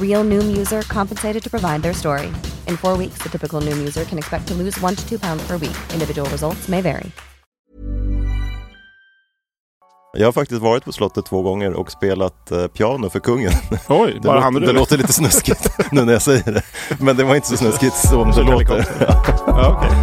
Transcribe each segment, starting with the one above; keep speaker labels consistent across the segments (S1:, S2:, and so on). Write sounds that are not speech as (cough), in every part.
S1: Real Noom user compensated to provide their story. In four weeks, the typical Noom user can expect to lose one to two pounds per week. Individual results may vary.
S2: Jag har faktiskt varit på slottet två gånger och spelat eh, piano för kungen.
S3: Oj,
S2: Det,
S3: (laughs) bara
S2: lå-
S3: hann du
S2: det låter lite snuskigt nu när jag säger det. Men det var inte så snuskigt som det låter.
S3: Ja, okej.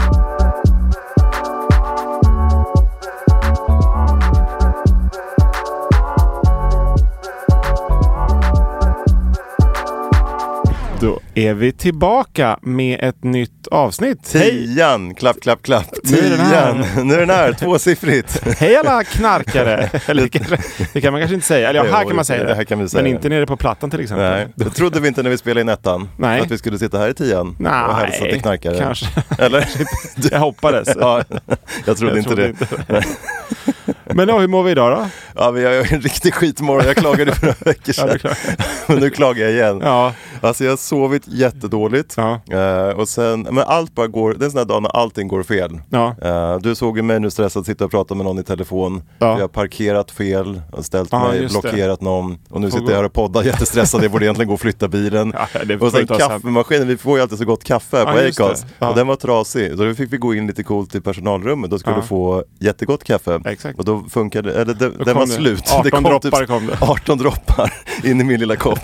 S3: Då är vi tillbaka med ett nytt avsnitt.
S2: Tian, klapp, klapp, klapp.
S3: Nu är den här.
S2: Tian, nu är den här,
S3: (laughs)
S2: tvåsiffrigt.
S3: Hej
S2: (laughs)
S3: alla knarkare! Eller det kan- det kan man kanske inte säga. Eller ja,
S2: Jo,
S3: här kan man säga
S2: det
S3: det.
S2: här kan vi säga.
S3: Men inte nere på Plattan till exempel.
S2: Nej, det trodde vi inte när vi spelade in ettan.
S3: Nej.
S2: Att vi skulle sitta här i tian och hälsa till knarkare.
S3: kanske.
S2: Eller?
S3: (laughs)
S2: (laughs)
S3: Jag hoppades.
S2: Ja, jag trodde
S3: Jag
S2: inte
S3: trodde
S2: det.
S3: inte Men ja, hur mår vi idag då?
S2: Ja, vi har ju en riktig skitmorgon. Jag klagade för några veckor
S3: Ja, det
S2: sedan.
S3: är klart.
S2: (laughs) Men nu klagar jag igen.
S3: Ja,
S2: Alltså jag har sovit jättedåligt.
S3: ja,
S2: Eh, och sen, men allt bara går, det är en sån här dag när allting går fel.
S3: ja.
S2: Eh, du såg ju mig nu stressad sitta och prata med någon i telefon.
S3: Ja.
S2: Jag har parkerat fel, har ställt
S3: Ja,
S2: mig,
S3: just det.
S2: blockerat någon och nu
S3: Får
S2: sitter
S3: gå.
S2: jag här och poddar jättestressad. Jag borde egentligen gå och flytta bilen.
S3: (laughs) Ja, det
S2: och
S3: får
S2: sen
S3: vi ta sen.
S2: kaffemaskinen, vi får ju alltid så gott kaffe här
S3: Ja,
S2: på
S3: just det.
S2: Acast.
S3: Ja.
S2: Och den var trasig. Så då fick vi gå in lite coolt i personalrummet. Då skulle
S3: Ja.
S2: du få jättegott kaffe.
S3: Exakt.
S2: Och då funkade, eller det, den
S3: kom
S2: var
S3: det.
S2: slut. (laughs)
S3: 18
S2: det kom typ
S3: droppar kom det.
S2: 18 droppar in i min lilla
S3: (laughs)
S2: kopp.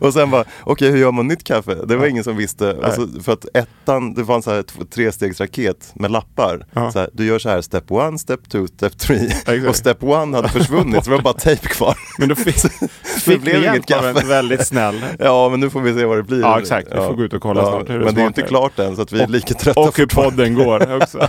S2: och sen bara, okej hur gör man nytt kaffe? Det var ingen som visste. Alltså, för att ettan, det fanns så här t- trestegsraket med lappar.
S3: Ja.
S2: Så här, du gör så här, step one, step two, step three.
S3: Exakt.
S2: Och step one hade försvunnit, så det var bara tejp kvar.
S3: Men då fick, fick
S2: blev
S3: vi
S2: inget
S3: hjälp av en
S2: kaffe.
S3: väldigt snäll.
S2: Ja, men nu får vi se vad det blir.
S3: Ja, exakt. Vi får gå ut och kolla snart hur det
S2: Men det är ju inte
S3: smakar.
S2: klart än, så att vi är
S3: Och-
S2: lika trötta.
S3: Och hur
S2: fortfarande.
S3: podden går också.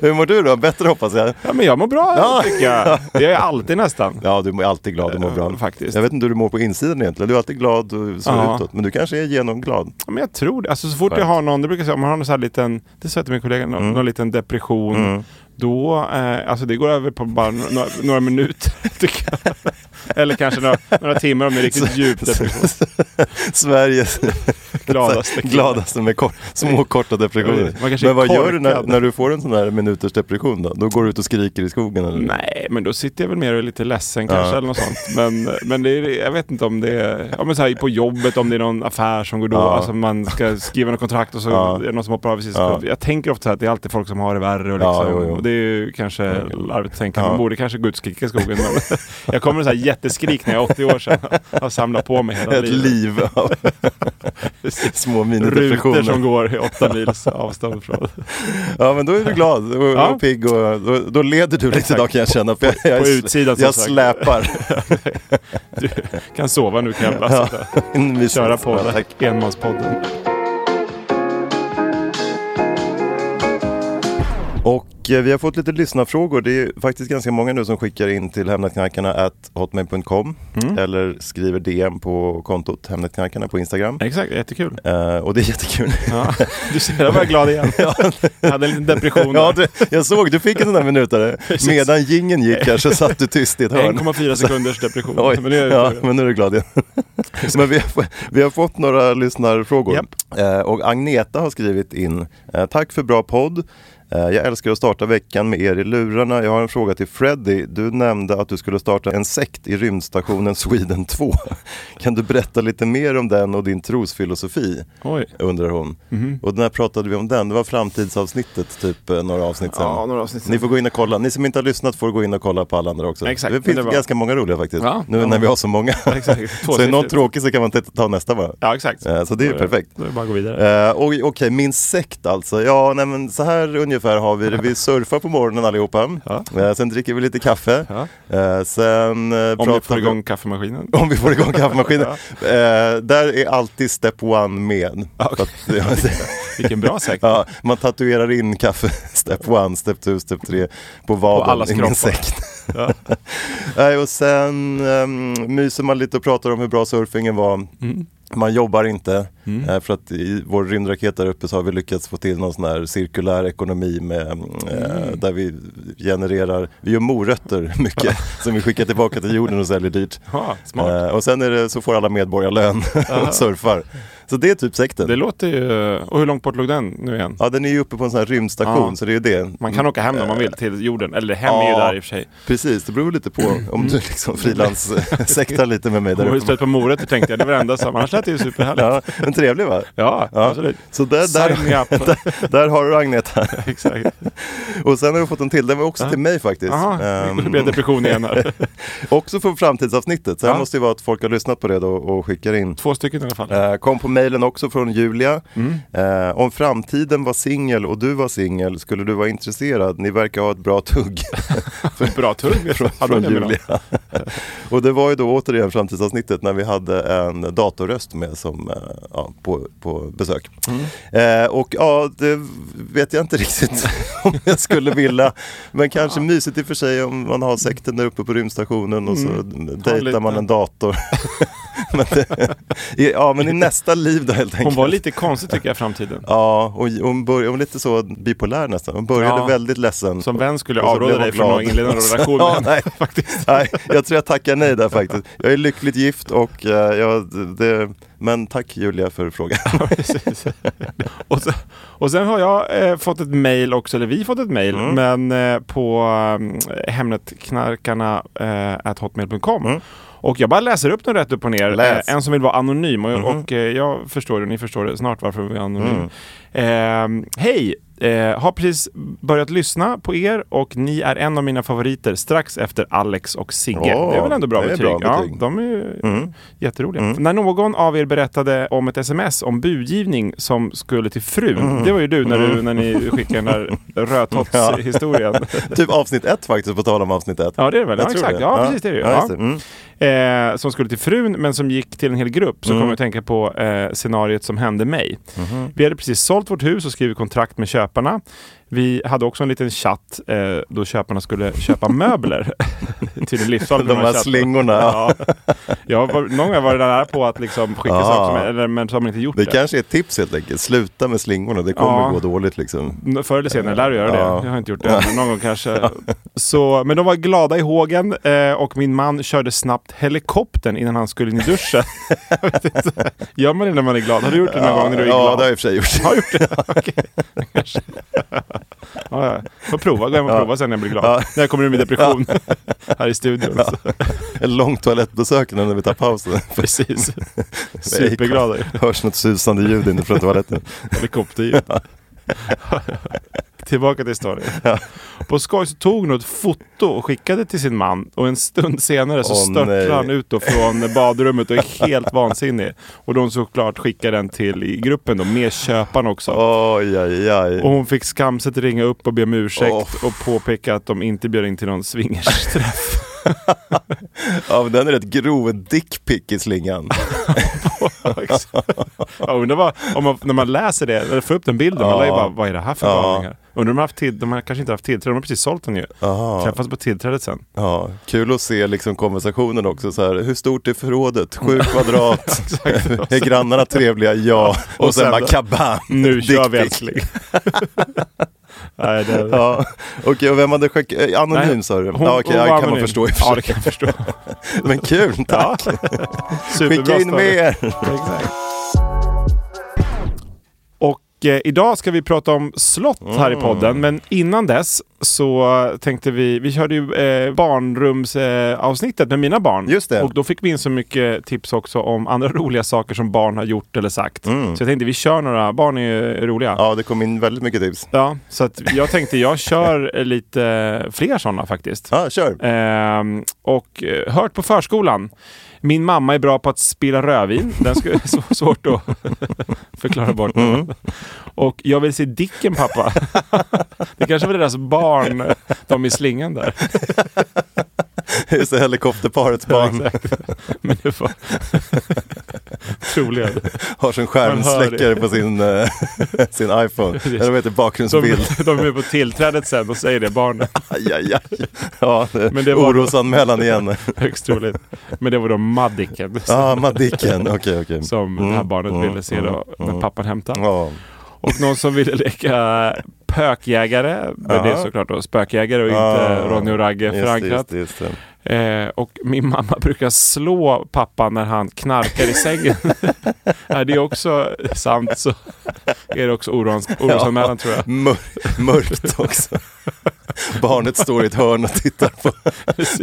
S2: Hur mår du då? Bättre hoppas jag.
S3: (laughs) Ja, men jag mår bra
S2: Ja.
S3: tycker jag. Det är jag alltid nästan.
S2: Ja, du är alltid glad och mår bra.
S3: Eh, faktiskt.
S2: Jag vet inte hur du mår på insidan egentligen. Du är alltid glad och så
S3: Ja.
S2: utåt. Men du kanske är genomglad.
S3: Ja, men jag tror det. Alltså så fort jag
S2: Skönt.
S3: har någon, det brukar jag säga, om man har någon sån här liten, det sa jag till min kollega, någon, någon liten depression. Då, eh, alltså det går över på bara no- några, några minuter. (laughs) tycker jag. Eller kanske några, några timmar om det
S2: (laughs)
S3: är riktigt djupt depression.
S2: Sveriges (laughs)
S3: Gladaste kille.
S2: gladaste med kor- små korta depressioner.
S3: Man kanske är
S2: Men vad gör du när,
S3: korkad.
S2: när du får en sån här minuters depression då? Då går du ut och skriker i skogen eller?
S3: Nej, men då sitter jag väl mer och är lite ledsen kanske eller något sånt. Men, men det är, jag vet inte om det är, ja, men så här, på jobbet om det är någon affär som går då,
S2: Ja.
S3: alltså man ska skriva något kontrakt och så
S2: Ja.
S3: är det någon som hoppar av i sista
S2: Ja.
S3: sekund. Jag tänker ofta så här att det är alltid folk som har det värre och
S2: Ja,
S3: liksom,
S2: jo, jo.
S3: och det är ju kanske larvigt att tänka,
S2: Ja.
S3: man borde kanske gå ut och skrika i skogen. Men (laughs) jag kommer så här jätteskrik när jag är 80 år sedan, har samlat på mig hela
S2: Ett liv av (laughs)
S3: Precis.
S2: små
S3: Rutor som
S2: minidepressioner.
S3: går i åtta mils avstånd från.
S2: Ja men då är du glad och,
S3: Ja.
S2: och pigg och då, då leder du lite
S3: Exakt.
S2: idag kan jag känna. För jag, jag,
S3: på
S2: är-
S3: utsidan, som
S2: Jag
S3: sagt.
S2: släpar.
S3: (laughs) Du kan sova nu kan jag
S2: (laughs)
S3: bara
S2: Ja.
S3: sitta.
S2: Envisas.
S3: köra på
S2: Ja, tack.
S3: enmanspodden.
S2: Och eh, vi har fått lite lyssnarfrågor. Det är faktiskt ganska många nu som skickar in till hemnetknarkarna.hotmail.com eller skriver DM på kontot Hemnetknarkarna på Instagram.
S3: Exakt, jättekul.
S2: Eh, och det är jättekul.
S3: Ja. (laughs) Du ser, jag var glad igen. Jag hade en liten depression.
S2: Ja,
S3: där.
S2: du, (laughs) jag såg, du fick en sån där minutare. Medan gingen gick här så satt du tyst i ett hörn.
S3: 1,4 sekunders depression.
S2: Oj,
S3: Men nu är jag
S2: ja,
S3: på det.
S2: men nu är du glad
S3: (laughs)
S2: igen. men vi har, få- vi har fått några lyssnarfrågor.
S3: Japp.
S2: Eh, och Agneta har skrivit in, eh, tack för bra podd. Eh, jag älskar att starta veckan med er i lurarna. Jag har en fråga till Freddy. Du nämnde att du skulle starta en sekt i rymdstationen Sweden 2. (laughs) Kan du berätta lite mer om den och din trosfilosofi?
S3: Oj. Mhm.
S2: Undrar hon. Och när pratade vi om den? Det var framtidsavsnittet, typ eh, några avsnitt sen.
S3: Ja, några avsnitt sen.
S2: Ni får gå in och kolla. Ni som inte har lyssnat får gå in och kolla på alla andra också.
S3: Exakt,
S2: det
S3: men
S2: finns
S3: det var-
S2: ganska många roliga faktiskt.
S3: Ja,
S2: nu
S3: (laughs) ja.
S2: när vi har så många. (laughs)
S3: Exakt,
S2: så är någon
S3: tvåsiffrigt.
S2: tråkig så kan man inte ta nästa bara.
S3: Ja, exakt.
S2: Eh, Så det är ju
S3: Då
S2: perfekt.
S3: Då är det bara att gå vidare.
S2: Eh, och Okej, min sekt alltså. Ja, nej, men så här ungefär har vi det. Vi surfar på morgonen allihopa.
S3: Ja.
S2: Eh, sen dricker vi lite kaffe.
S3: Ja.
S2: Eh, sen eh,
S3: Om
S2: pratar
S3: vi får igång kaffemaskinen.
S2: om vi (laughs) får igång
S3: (laughs)
S2: kaffemaskinen. eh, där är alltid step one med. För att- (laughs)
S3: Vilken bra sekt.
S2: ja, man tatuerar in kaffe, (laughs) step one, step two, step tre på vaden
S3: allas
S2: i min
S3: kroppar.
S2: sekt. (laughs) Nej, och sen um, myser man lite och pratar om hur bra surfingen var.
S3: Mm.
S2: Man jobbar inte, eh, för att i vår rymdraket där uppe så har vi lyckats få till någon sån här cirkulär ekonomi med, eh,
S3: Mm.
S2: där vi genererar, vi gör morötter (laughs) mycket som vi skickar tillbaka till jorden och säljer dyrt.
S3: Ja, smart.
S2: Eh, och sen är det, så får alla medborgarlön (laughs) och surfar. Så det är typ sekten.
S3: Det låter ju... Och hur långt bort låg den nu igen?
S2: Ja, den är ju uppe på en sån här rymdstation,
S3: Ja.
S2: så det är ju det.
S3: Man kan åka hem om man vill till jorden. Eller hem är ju
S2: Mm. Ja.
S3: där i och för sig.
S2: Precis, det beror lite på om
S3: (clears throat)
S2: du liksom (laughs) frilanssektar lite med mig
S3: Och
S2: där
S3: hur
S2: uppe.
S3: stött på morötter tänkte jag. Det var det enda som... Annars lät det ju superhärligt.
S2: Ja, men trevlig va?
S3: Ja, absolut.
S2: Så där,
S3: Sign me
S2: där,
S3: up.
S2: (laughs) där, där har du Agneta.
S3: Exakt.
S2: Och sen har vi fått en till, den var också till mig faktiskt.
S3: Jaha,
S2: Ehm,
S3: det blev depression igen här.
S2: (laughs) också från framtidsavsnittet, så det här
S3: Ja.
S2: måste ju vara att folk har lyssnat på det då och skickar in.
S3: Två stycken i alla fall.
S2: Eh, Kom på mejlen också från Julia.
S3: Mm.
S2: Eh, om framtiden var singel och du var singel, skulle du vara intresserad? Ni verkar ha ett bra tugg.
S3: Bra tugg.
S2: från, från
S3: Hade hon det med
S2: Julia. (laughs) och det var ju då återigen framtidsavsnittet när vi hade en datorröst med som, eh, ja, på, på besök.
S3: Mm.
S2: Eh, och ja, det vet jag inte riktigt (laughs) om jag skulle vilja. Men kanske mysigt i och för sig om man har sekten där uppe på rymdstationen och så dejtar
S3: Mm. lite.
S2: man en dator. (laughs) men det, i- ja, men i nästa liv då helt enkelt.
S3: Hon var lite konstig tycker jag i framtiden.
S2: Ja, och hon, började, hon var lite så bipolär nästan. Hon började
S3: Ja.
S2: väldigt ledsen.
S3: Som vän skulle
S2: Och
S3: jag
S2: så Alltså, blev
S3: avråda
S2: hon
S3: dig från
S2: glad.
S3: att inleda en
S2: (laughs)
S3: relation
S2: ja,
S3: med
S2: nej.
S3: henne. Faktiskt.
S2: nej, jag tror jag tackar nej där faktiskt. Jag är lyckligt gift och eh, jag, det, men tack Julia för
S3: (laughs)
S2: frågan. (laughs)
S3: Precis. och, sen, och sen har jag eh, fått ett mejl också, eller vi fått ett mejl,
S2: Mm.
S3: men eh, på eh, Hemnetknarkarna eh, at hotmail.com. Och jag bara läser upp den rätt upp och ner.
S2: Mm. Läs. Mm-hmm.
S3: Eh, En som vill vara anonym och, och eh, jag förstår det och ni förstår det snart varför vi är
S2: Mm.
S3: anonym. Eh, Hej! Eh, har precis börjat lyssna på er och ni är en av mina favoriter strax efter Alex och Sigge.
S2: Åh,
S3: det är väl ändå bra
S2: det är
S3: betyg?
S2: bra
S3: Ja,
S2: betyg.
S3: de är ju
S2: Mm.
S3: jätteroliga. När någon av er berättade om ett sms om budgivning som skulle till frun.
S2: Mm.
S3: Det var ju du när, du, när ni skickade den
S2: (laughs)
S3: där rödtopps-historien.
S2: typ avsnitt ett faktiskt, på tal om avsnitt ett.
S3: Ja, det är det väl? Ja,
S2: Jag tror
S3: exakt. Ja, precis, det är det ju.
S2: Ja,
S3: Ja.
S2: just det. Mm.
S3: eh, som skulle till frun men som gick till en hel grupp så
S2: Mm.
S3: kom jag att tänka på eh, scenariet som hände mig.
S2: Mm-hmm.
S3: Vi hade precis sålt vårt hus och skrivit kontrakt med köparna. Vi hade också en liten chatt eh, då köparna skulle
S2: (laughs)
S3: köpa möbler. till en livsfarlig
S2: De här slingorna.
S3: Ja. Jag var, någon gång var det där på att liksom skicka
S2: Ja.
S3: saker som, eller, men så har man inte gjort
S2: Det
S3: det.
S2: kanske är ett tips helt enkelt, sluta med slingorna, det kommer
S3: Ja.
S2: gå dåligt liksom.
S3: Förr eller senare lär du göra
S2: Ja.
S3: det. Jag har inte gjort det än, men någon gång kanske. Så, men de var glada i hågen eh, och min man körde snabbt helikoptern innan han skulle in i duschen. Jag vet inte. Gör man det när man är glad? Har du gjort det någon gång när du är
S2: ja,
S3: glad?
S2: det har jag i och för sig gjort.
S3: (laughs) Har jag gjort det? Okej. Kanske. ja, ja. Får prova. Gå hem och prova sen när jag blir glad.
S2: Ja.
S3: När jag kommer ur min depression här i studion.
S2: En lång toalettbesök innan vi tar pausen.
S3: (laughs) Precis. Superglad.
S2: Hörs något susande ljud inifrån toaletten. (laughs)
S3: Helikopterljud. Tillbaka till historien. På skoj så tog hon ett foto och skickade till sin man och en stund senare så
S2: Åh,
S3: störtade
S2: nej.
S3: han ut då från badrummet
S2: (laughs)
S3: och är helt vansinnig. Och de såklart skickade den till i gruppen då, med köparen också.
S2: Oj, oj,
S3: Och
S2: oj.
S3: hon fick skamset ringa upp och be om ursäkt
S2: Åh.
S3: och påpeka att de inte bjöd in till någon swingersträff.
S2: Ja, men den är rätt grov dickpick i slingan.
S3: Jag undrar vad, om man, när man läser det, eller får upp den bilden, man lär ju bara, vad är det här för
S2: Ja.
S3: galningar? Undrar om de har haft tid, de har kanske inte haft tillträde, de har precis sålt den ju. Träffas på tillträdet sen.
S2: Ja, kul att se liksom konversationen också. Så här, hur stort är förrådet?
S3: (laughs)
S2: Sju kvadrat. är grannarna trevliga? Ja. Och,
S3: och
S2: sen
S3: sen
S2: bara
S3: då?
S2: kabam!
S3: Nu
S2: Dick
S3: kör vi
S2: pic.
S3: älskling.
S2: (laughs)
S3: Nej, det,
S2: Ja. Okej, och vem hade skickat? eh, Anonym
S3: Nej,
S2: sa du?
S3: hon-
S2: ja, okej,
S3: hon
S2: ja,
S3: var
S2: kan man
S3: anonym.
S2: förstå i och
S3: Ja,
S2: för
S3: det
S2: sig.
S3: kan
S2: (laughs)
S3: jag förstå.
S2: Men kul,
S3: Ja.
S2: tack! Skicka in
S3: story.
S2: mer!
S3: Exakt. Och Och eh, idag ska vi prata om slott här
S2: Mm.
S3: i podden, men innan dess så tänkte vi, vi körde ju eh, barnrumsavsnittet eh, avsnittet med mina barn.
S2: Just det.
S3: Och då fick vi in så mycket tips också om andra (laughs) roliga saker som barn har gjort eller sagt. Så jag tänkte vi kör några, barn är ju roliga.
S2: Mm. Ja, det kom in väldigt mycket tips.
S3: Ja, så att jag tänkte jag kör (laughs) eh, lite fler sådana faktiskt.
S2: Ja, kör.
S3: Ehm, och eh, hört på förskolan. Min mamma är bra på att spilla rödvin. Den ska, (laughs) så, svårt att förklara bort.
S2: Mm.
S3: Och jag vill se Dicken pappa. Det kanske var deras barn, de i slingan där.
S2: (laughs) Just det, helikopterparets
S3: (laughs)
S2: barn
S3: Exakt. Men det var troligen.
S2: har sin
S3: Man hör
S2: skärmsläckare
S3: det.
S2: på sin, eh, (laughs) sin
S3: (laughs)
S2: iPhone. Eller vad heter det,
S3: De,
S2: bakgrundsbild?
S3: de är på tillträdet sen och säger det, barnen.
S2: Aj, aj, aj. Ja,
S3: Men
S2: Men
S3: det
S2: det
S3: var-
S2: orosanmälan
S3: (laughs)
S2: igen.
S3: Högst troligt. Men det var då Maddicken
S2: Ja, ah, Madicken. Okej, okej.
S3: som det här barnet
S2: mm,
S3: ville se då när pappan hämtade.
S2: Ja.
S3: Och någon som ville leka pökjägare. Men det är såklart då spökjägare och
S2: Ah,
S3: inte Ronny och Ragge
S2: just det,
S3: förankrat.
S2: Just det, just det.
S3: Eh, och min mamma brukar slå pappa när han knarkar
S2: (laughs)
S3: i sängen. är det också sant så är det också orans, orosanmälan tror
S2: (laughs)
S3: jag.
S2: Mör- mörkt också. Barnet står i ett hörn och tittar på.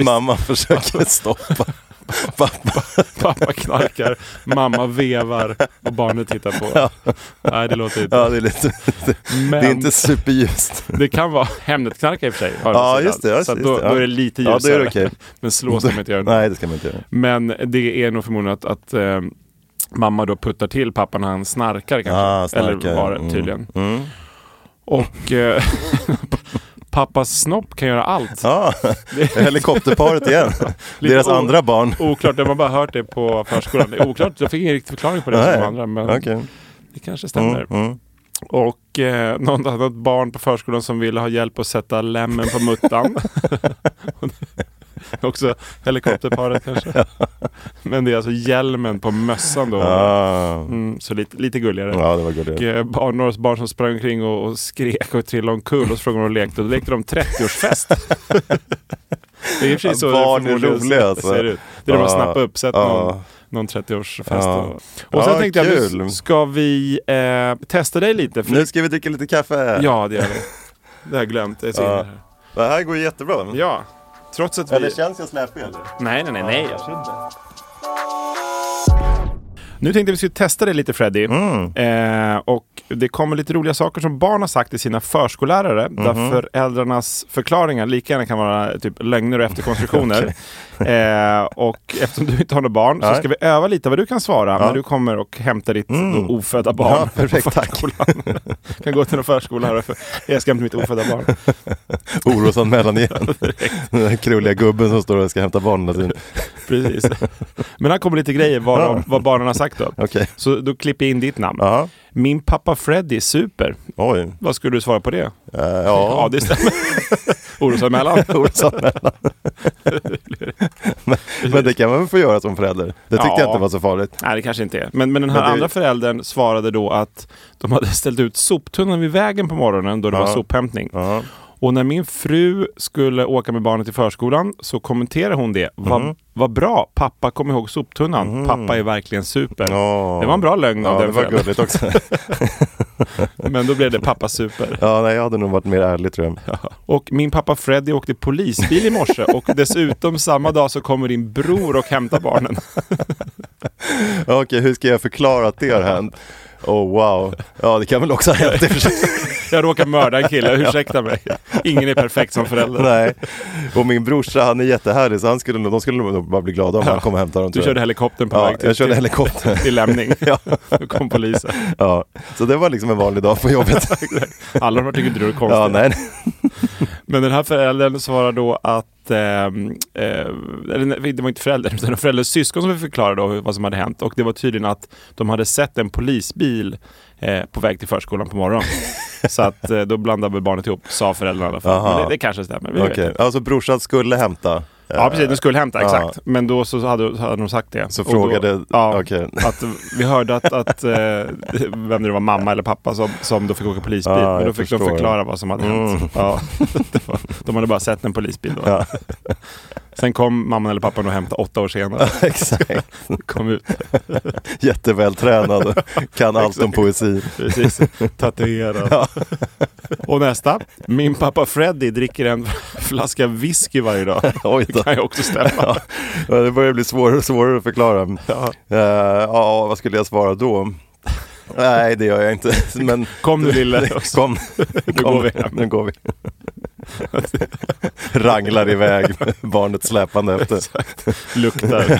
S2: Mamma försöker stoppa. Pappa.
S3: Pappa knarkar, mamma vevar och barnet tittar på. Nej, det låter inte.
S2: Ja, det är lite...
S3: Men
S2: Det är inte superljust.
S3: det kan vara Hemnetknarkare i och för sig. har
S2: Ja,
S3: jag
S2: just det,
S3: sett.
S2: just
S3: så att
S2: det,
S3: då,
S2: just det, ja.
S3: då är det lite ljusare.
S2: Ja, då är det okej.
S3: Men slå ska man inte göra.
S2: Nej, det ska man inte göra.
S3: Men det är nog förmodligen att, att eh, mamma då puttar till pappa när han snarkar kanske.
S2: Ah, snarkar.
S3: Eller var det
S2: Mm.
S3: tydligen. Och eh, (laughs) pappas snopp kan göra allt.
S2: Ja, helikopterparet igen.
S3: (laughs) Lite
S2: Deras
S3: o-
S2: andra barn.
S3: Oklart, det har man bara hört det på förskolan. Det är oklart, jag fick ingen riktig förklaring på det som
S2: Nej.
S3: de andra. Men
S2: Okej.
S3: det kanske stämmer.
S2: Mm.
S3: Och eh, något annat barn på förskolan som ville ha hjälp att sätta lämmen
S2: (laughs)
S3: på muttan. Också helikopterparet kanske. Men det är alltså hjälmen på mössan då.
S2: Ah.
S3: Mm, så lite, lite gulligare.
S2: Ja, det var
S3: Och,
S2: gulligt.
S3: eh, barn, några barn som sprang omkring och, och skrek och trillade omkull och så frågade de om de lekte. Och då lekte
S2: (laughs)
S3: de 30-årsfest. det är i och för sig så
S2: Barn är
S3: förmodligen
S2: roliga, alltså.
S3: ser ut. Det är de har
S2: Ja,
S3: snappat upp, sett någon,
S2: ja.
S3: någon 30-årsfest.
S2: Ja.
S3: Och, och sen
S2: Ja,
S3: tänkte jag, nu
S2: kul.
S3: ska vi eh, testa dig lite. För,
S2: Nu ska vi dricka lite kaffe.
S3: Ja, det gör vi. Det har jag glömt. Det är så
S2: Ja.
S3: inne här.
S2: Det här går ju jättebra.
S3: ja, trots att vi...
S2: Eller känns jag släpig? eller?
S3: Nej, nej, nej, nej. absolut inte. Nu tänkte vi skulle testa dig lite Freddy.
S2: Mm.
S3: Eh, och det kommer lite roliga saker som barn har sagt till sina förskollärare.
S2: Mhm.
S3: Där föräldrarnas förklaringar lika gärna kan vara typ lögner
S2: (laughs)
S3: och efterkonstruktioner. eh, och eftersom du inte har några barn så
S2: Nej. Mm.
S3: ska vi öva lite vad du kan svara när du kommer och hämtar ditt då, ofödda barn
S2: Ja, perfekt,
S3: (laughs) på
S2: tack.
S3: förskolan. (laughs) kan gå till någon förskola och för jag ska hämta mitt ofödda
S2: (laughs)
S3: barn.
S2: Orosanmälan igen. Den där krulliga gubben som står och ska hämta Alltså, barn hela tiden.
S3: Precis. Men här kommer lite grejer vad, de, vad barnen har sagt då.
S2: Okej.
S3: Så då klipper jag in ditt namn.
S2: Ja,
S3: Min pappa Freddy super.
S2: oj.
S3: Vad skulle du svara på det?
S2: Eh,
S3: Ja,
S2: ja, (laughs)
S3: det stämmer. Orosanmälan.
S2: orosanmälan. men, men det kan man väl få göra som förälder? Det tyckte
S3: Ja.
S2: jag inte var så farligt.
S3: Nej, det kanske inte är. Men, men den här
S2: Men det-
S3: andra föräldern svarade då att de hade ställt ut soptunnan vid vägen på morgonen då det var sophämtning.
S2: Ja.
S3: Och när min fru skulle åka med barnet till förskolan så kommenterade hon det.
S2: Mhm.
S3: Vad, vad bra, pappa kom ihåg soptunnan. Pappa är verkligen super.
S2: Ja.
S3: Det var en bra lögn av
S2: Ja, det
S3: den
S2: var
S3: föräldern.
S2: gulligt också.
S3: Men då blev det pappa super.
S2: Ja, nej, jag hade nog varit mer ärlig tror jag.
S3: Och min pappa Freddy åkte polisbil i morse och dessutom samma dag så kommer din bror och hämtar barnen.
S2: Ja, Okej, hur ska jag förklara att det har hänt? Oh wow, ja det kan väl också ha hänt i och för sig.
S3: Jag råkar mörda en kille, ursäkta mig. Ingen är perfekt som
S2: (laughs)
S3: förälder.
S2: Nej, och min brorsa han är jättehärlig så han skulle, nog- de skulle nog bara bli glada om han kom och hämtade dem.
S3: Du
S2: tror jag.
S3: körde helikoptern på
S2: Ja,
S3: väg till,
S2: jag körde
S3: till, (laughs)
S2: helikopter.
S3: till lämning.
S2: Ja.
S3: Då kom polisen.
S2: Ja, så det var liksom en vanlig dag på
S3: (laughs)
S2: jobbet.
S3: Alla de här tycker inte du är konstig.
S2: ja, nej.
S3: Men den här föräldern svarar då att ehm, eh, eller nej, det var inte föräldern, utan en förälders syskon som förklarade då vad som hade hänt. Och det var tydligen att de hade sett en polisbil eh, på väg till förskolan på
S2: (laughs)
S3: morgonen. Så att eh, då blandade väl barnet ihop, sa föräldrarna i alla fall.
S2: Aha.
S3: Men det, det kanske stämmer. Vi vet
S2: Okej,
S3: inte.
S2: alltså brorsan skulle hämta.
S3: Mm. Ja precis, den skulle hämta,
S2: Ja.
S3: exakt. Men då så hade, så hade de sagt det.
S2: Så
S3: Och
S2: frågade-
S3: Då, ja,
S2: okej. (laughs)
S3: att vi hörde att, att eh, vem det var, mamma eller pappa som, som då fick åka polisbil.
S2: Ja,
S3: men då
S2: jag
S3: fick de
S2: förstår. Mm.
S3: (laughs) förklara vad som hade hänt. Ja, det var, de hade bara sett en polisbil då. Sen kom mamman eller pappan och hämtade åtta år senare.
S2: (laughs) Exakt.
S3: (laughs) Kom ut.
S2: Jättevältränad, kan allt om poesi.
S3: Precis, tatuerad. (laughs) Och nästa. Min pappa Freddy dricker en (laughs) flaska whisky varje dag.
S2: (laughs) Oj då.
S3: Det kan ju också stämma.
S2: Ja, det börjar bli svårare och svårare att förklara. Ja, ja vad skulle jag svara då? Nej, det gör jag inte. Men
S3: Kom
S2: (laughs)
S3: nu lille. Och så
S2: kom,
S3: Nu går vi hem.
S2: nu går vi. Ranglar iväg, (laughs) barnet släpande efter.
S3: Luktar.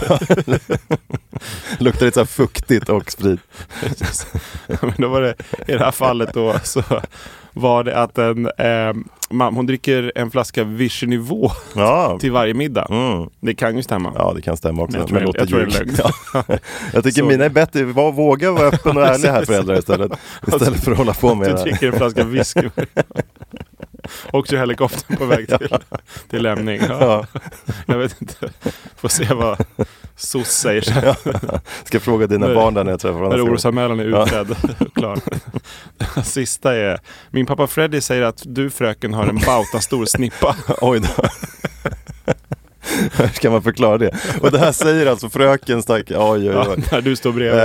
S2: Luktar lite så här fuktigt och sprit.
S3: Men då var det, I det här fallet då så var det att en eh, mamma, hon dricker en flaska Vichenivå
S2: Ja.
S3: till varje middag.
S2: Mm.
S3: Det kan ju stämma.
S2: Ja, det kan stämma också.
S3: Men jag tror det- jag tror det är
S2: ljug.
S3: lögn.
S2: (laughs) Ja. Jag tycker
S3: Så.
S2: mina är bättre. Var, våga vara öppen och ärlig här
S3: Precis.
S2: föräldrar (laughs) istället. Istället för att hålla på med
S3: Du
S2: det här.
S3: dricker en flaska whisky. Åkte ju helikoptern på väg till, till lämning. Ja.
S2: Ja.
S3: Jag vet inte. Får se vad SOS säger sen.
S2: Ska fråga dina
S3: När-
S2: barn där när jag träffar dem.
S3: När
S2: nästa gång.
S3: orosanmälan är
S2: Ja.
S3: utredd. och Klar. Sista är. Min pappa Freddy säger att du fröken har en bautastor snippa.
S2: (laughs) Oj då. (laughs) Hur ska man förklara det? Och det här säger alltså fröken stack. Oj, oj,
S3: Ja,
S2: oj.
S3: när du står bredvid.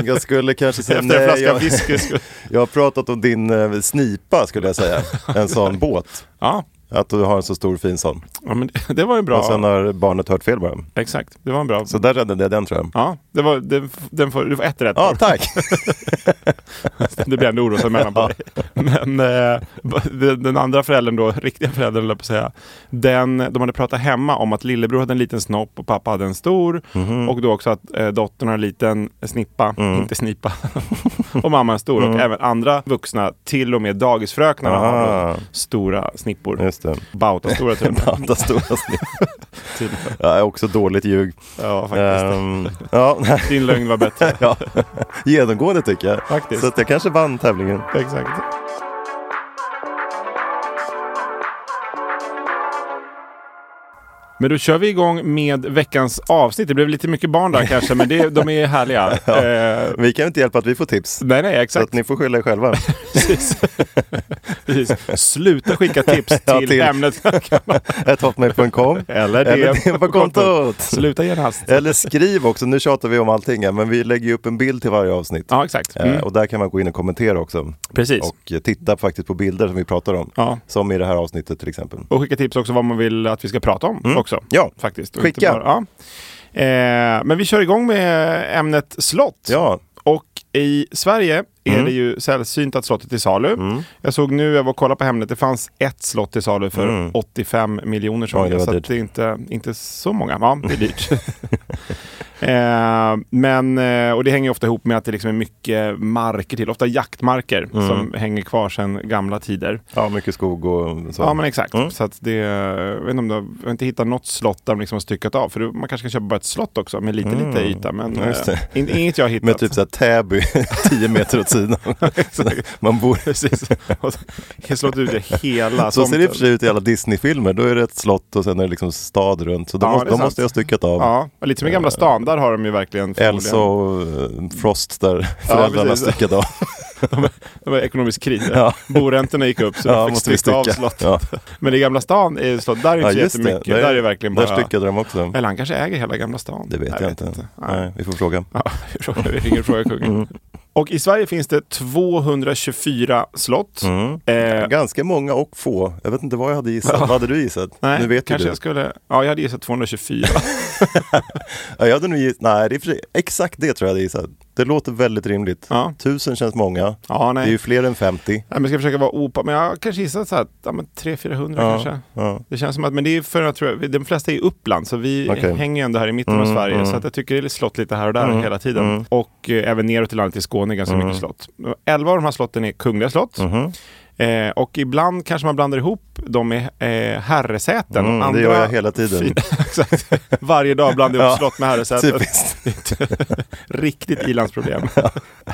S2: Ehm, jag skulle kanske säga
S3: Efter en
S2: nej.
S3: flaska
S2: Jag,
S3: whisky. skulle-
S2: (laughs) jag har pratat om din eh, snipa skulle jag säga. En sån båt.
S3: (laughs) Ja,
S2: Att du har en så stor fin sån.
S3: ja men det, det var ju
S2: Och sen
S3: bra.
S2: har barnet hört fel bara.
S3: Exakt, det var en bra.
S2: Så där räddade jag den tror jag.
S3: Ja, det var, den, den får, du får ett rätt.
S2: Ja, tack.
S3: (laughs)
S2: (laughs)
S3: Det blir ändå orosanmälan på dig. Men eh, b- den, den andra föräldern då, riktiga föräldern höll jag på att säga. Den, de hade pratat hemma om att lillebror hade en liten snopp och pappa hade en stor.
S2: Mhm.
S3: Och då också att eh, dottern har en liten snippa,
S2: Mm.
S3: (laughs) inte snipa. och mamma en stor. Och även andra vuxna, till och med dagisfröknarna har
S2: Aha.
S3: då stora snippor.
S2: Ah. Just det.
S3: Bautastora till och med.
S2: Banta stora snip.
S3: Typ.
S2: Ja, också dåligt ljug.
S3: Ja, faktiskt.
S2: Ehm, ja, (laughs) nej.
S3: Din lögn var bättre.
S2: ja. Genomgående tycker jag.
S3: Faktiskt.
S2: Så att jag kanske vann tävlingen.
S3: Exakt. Men då kör vi igång med veckans avsnitt. Det blev lite mycket barn där kanske, men det, de
S2: (laughs)
S3: är härliga. Eh,
S2: Vi kan ju inte hjälpa att vi får tips.
S3: nej, nej,
S2: Så att
S3: exakt.
S2: ni får skylla er själva.
S3: Precis. Precis. Sluta skicka tips
S2: (laughs) Ja,
S3: till,
S2: till-
S3: ämnet.
S2: hotmail.com
S3: (laughs) Eller
S2: eller
S3: DM
S2: DM på kontot.
S3: Sluta genast.
S2: Eller skriv också, nu tjatar vi om allting här, men vi lägger ju upp en bild till varje avsnitt.
S3: Ja, exakt.
S2: Eh,
S3: Mm.
S2: Och där kan man gå in och kommentera också.
S3: Precis.
S2: Och eh, titta faktiskt på bilder som vi pratar om.
S3: Ja.
S2: Som i det här avsnittet till exempel.
S3: Och skicka tips också vad man vill att vi ska prata om också.
S2: Mm. Ja,
S3: faktiskt. Och
S2: skicka.
S3: inte Bara, ja. eh, men vi kör igång med ämnet slott.
S2: Ja, Mm.
S3: Och i Sverige är det ju sällsynt att slottet är till salu. Jag såg nu, jag var och kollade på Hemnet, det fanns ett slott till salu för 85 miljoner
S2: Mm. Oj, det
S3: sålde.
S2: var
S3: Så att
S2: dyrt. Mm.
S3: det är inte, inte så många. Ja, det är dyrt. (laughs) Eh, men, eh, och det hänger ju ofta ihop med att det liksom är mycket marker till, ofta jaktmarker
S2: Mm.
S3: som hänger kvar sedan gamla tider.
S2: ja mycket skog och så.
S3: Ja men exakt.
S2: Mm.
S3: Så att det, jag, vet inte om du har, jag har inte hittat något slott där de liksom har styckat av. För då- man kanske kan köpa bara ett slott också med lite lite yta. Men
S2: Mm. Ja, just
S3: eh, in, inget jag har hittat.
S2: (laughs) Med
S3: (laughs)
S2: typ såhär Täby, (laughs) 10 meter åt sidan. Man bor...
S3: Precis. Och så- Slått ut det
S2: (laughs)
S3: hela
S2: Så ser det i och för
S3: tomten.
S2: sig ut i alla Disney-filmer. Då är det ett slott och sen är det liksom stad runt. Så de,
S3: Ja,
S2: måste,
S3: det
S2: de
S3: är sant.
S2: måste jag ha styckat av.
S3: Ja, och lite som i Gamla stan, där har de ju verkligen
S2: Eh, Elsa
S3: förmodligen-
S2: och eh, Frost där (laughs) föräldrarna
S3: precis.
S2: styckade
S3: (laughs)
S2: av.
S3: Det var ekonomisk kris.
S2: Ja.
S3: Boräntorna gick upp
S2: (laughs)
S3: så
S2: Ja,
S3: de fick
S2: måste vi
S3: stycka av
S2: stycka.
S3: slottet.
S2: Ja.
S3: Men i Gamla stan, är slott, där är inte så jättemycket. Där, är det verkligen bara...
S2: Där styckade de också.
S3: Eller han kanske äger hela Gamla stan.
S2: Det vet jag, inte.
S3: Nej.
S2: Nej. vi får fråga.
S3: Ja, (laughs) vi frågar- vi ringer och frågar kungen. Mm. Och i Sverige finns det 224 slott.
S2: Mm.
S3: Eh,
S2: Ganska många och få. Jag vet inte vad jag hade gissat. Vad hade du gissat?
S3: nej,
S2: nu vet ju
S3: kanske
S2: du.
S3: jag skulle... Ja, jag hade gissat 224.
S2: Ja, jag hade nog gissat. Nej, det är för sig- exakt det tror jag jag hade gissat. Det låter väldigt rimligt.
S3: Ja.
S2: Tusen känns många.
S3: ja,
S2: Det
S3: nej.
S2: är ju fler än 50.
S3: Nej, men jag ska försöka vara opa, men jag kanske gissar så här, ja, men 300-400 kanske.
S2: ja.
S3: Det känns som att, men det är för att tror jag, de flesta är i Uppland, så vi
S2: Okej. Mm,
S3: hänger ju ändå här i mitten av Sverige. Så att jag tycker det är slott lite här och där hela tiden. Och eh, även neråt i landet i Skåne är ganska
S2: Mm.
S3: mycket slott. Elva av de här slotten är kungliga slott.
S2: Mm-hmm.
S3: Eh, och ibland kanske man blandar ihop dem med eh, herresäten.
S2: Mm, det
S3: Andra
S2: gör jag hela tiden.
S3: fina- (laughs) Exakt. Varje dag
S2: (laughs)
S3: blandar jag ihop slott med herresäten.
S2: Typiskt. (laughs)
S3: Riktigt ilandsproblem.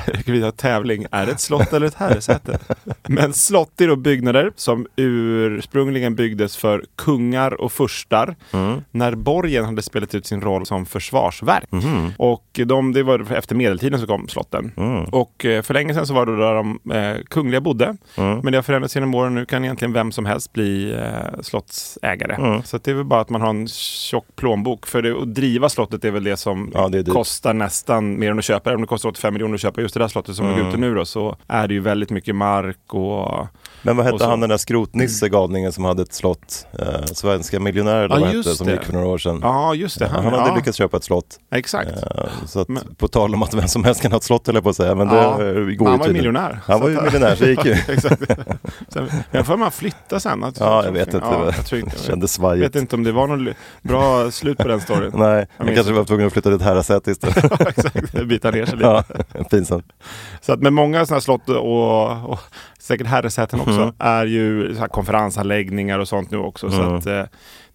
S3: Jag kan vidare tävling. Är det ett slott eller ett herresäte? Men slott är då byggnader som ursprungligen byggdes för kungar och furstar
S2: Mm.
S3: när borgen hade spelat ut sin roll som försvarsverk.
S2: Mm-hmm.
S3: Och de, det var
S2: Mm. Mm.
S3: efter medeltiden som kom slotten. Och eh, för länge sedan så var det där de eh, kungliga bodde. Men men det har förändrats genom åren. Nu kan egentligen vem som helst bli eh, slottsägare.
S2: Mm.
S3: Så att det är väl bara att man har en tjock plånbok. För det, att driva slottet är väl det som
S2: Ja, det är dyrt.
S3: kostar nästan mer än att köpa. Även om det kostar 85 miljoner att köpa just det där slottet som
S2: Mm.
S3: ligger ute nu då, så är det ju väldigt mycket mark och...
S2: Men vad
S3: Och
S2: hette
S3: så-
S2: han den där skrotnisse galningen som hade ett slott? Eh, svenska miljonär eller
S3: Ja,
S2: vad
S3: just
S2: hette, som
S3: det.
S2: gick för några år sedan.
S3: Ja, just det.
S2: Han hade
S3: ja,
S2: lyckats köpa ett slott.
S3: Exakt.
S2: Eh, Så att,
S3: Men-
S2: på tal om att vem som helst kan ha ett slott höll jag på att säga. Men det
S3: Ja.
S2: eh, går ju
S3: han var ju
S2: tydligen.
S3: miljonär.
S2: Han var ju miljonär så det
S3: (laughs)
S2: gick ju.
S3: Exakt. Sen, men får man flytta sen? Att,
S2: Ja, jag vet inte.
S3: Ja, jag, tror inte-
S2: det (laughs) kändes
S3: jag vet
S2: svajigt.
S3: inte om det var någon ly- bra slut på den storyn.
S2: (laughs)
S3: (laughs)
S2: Nej, han
S3: minns
S2: kanske
S3: inte.
S2: var tvungen att flytta till ett härasäte
S3: (laughs)
S2: istället.
S3: Exakt, bita ner sig lite.
S2: ja, pinsamt.
S3: Så att, men många sådana slott och, och säkert herresäten också är ju så här konferensanläggningar och sånt nu också. Så att, eh,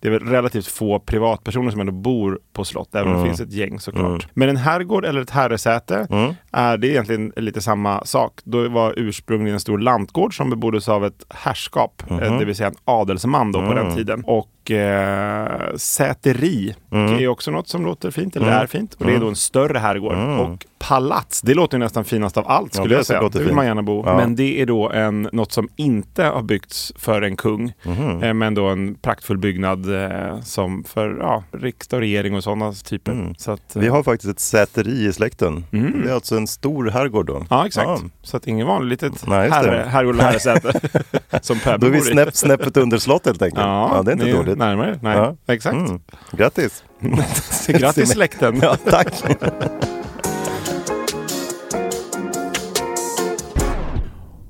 S3: det är väl relativt få privatpersoner som ändå bor på slott, även om det finns ett gäng såklart. Men en herrgård eller ett herresäte är det är egentligen lite samma sak. Då var ursprungligen en stor lantgård som beboddes av ett herrskap, eh, det vill säga en adelsman då på den tiden. Och eh, säteri
S2: Mm.
S3: är också något som låter fint, eller är fint. Och det är då en större herrgård. Och palats, det låter ju nästan finast av allt skulle
S2: Mm. det
S3: jag säga. Det
S2: låter
S3: vill
S2: fint.
S3: man gärna bo.
S2: Ja.
S3: Men det är då en, något som inte har byggts för en kung.
S2: Mhm.
S3: Eh, men då en praktfull byggnad eh, som för ja, restaurering och sådana typer. Så att, eh,
S2: Mm. Vi har faktiskt ett säteri i släkten. Det är alltså en stor herrgård då.
S3: Mm. eh, Ja, exakt. Så att ingen vanlig litet
S2: Nej, just det.
S3: herre, herrgård och herresäte
S2: (laughs)
S3: som Per
S2: Då är vi
S3: bor i.
S2: snäpp, snäppet under slott helt enkelt. Ja, det är inte
S3: ni
S2: dåligt.
S3: Närmare. Nej,
S2: Ja.
S3: exakt.
S2: Mm. Grattis!
S3: (laughs) Grattis släkten.
S2: Ja, tack!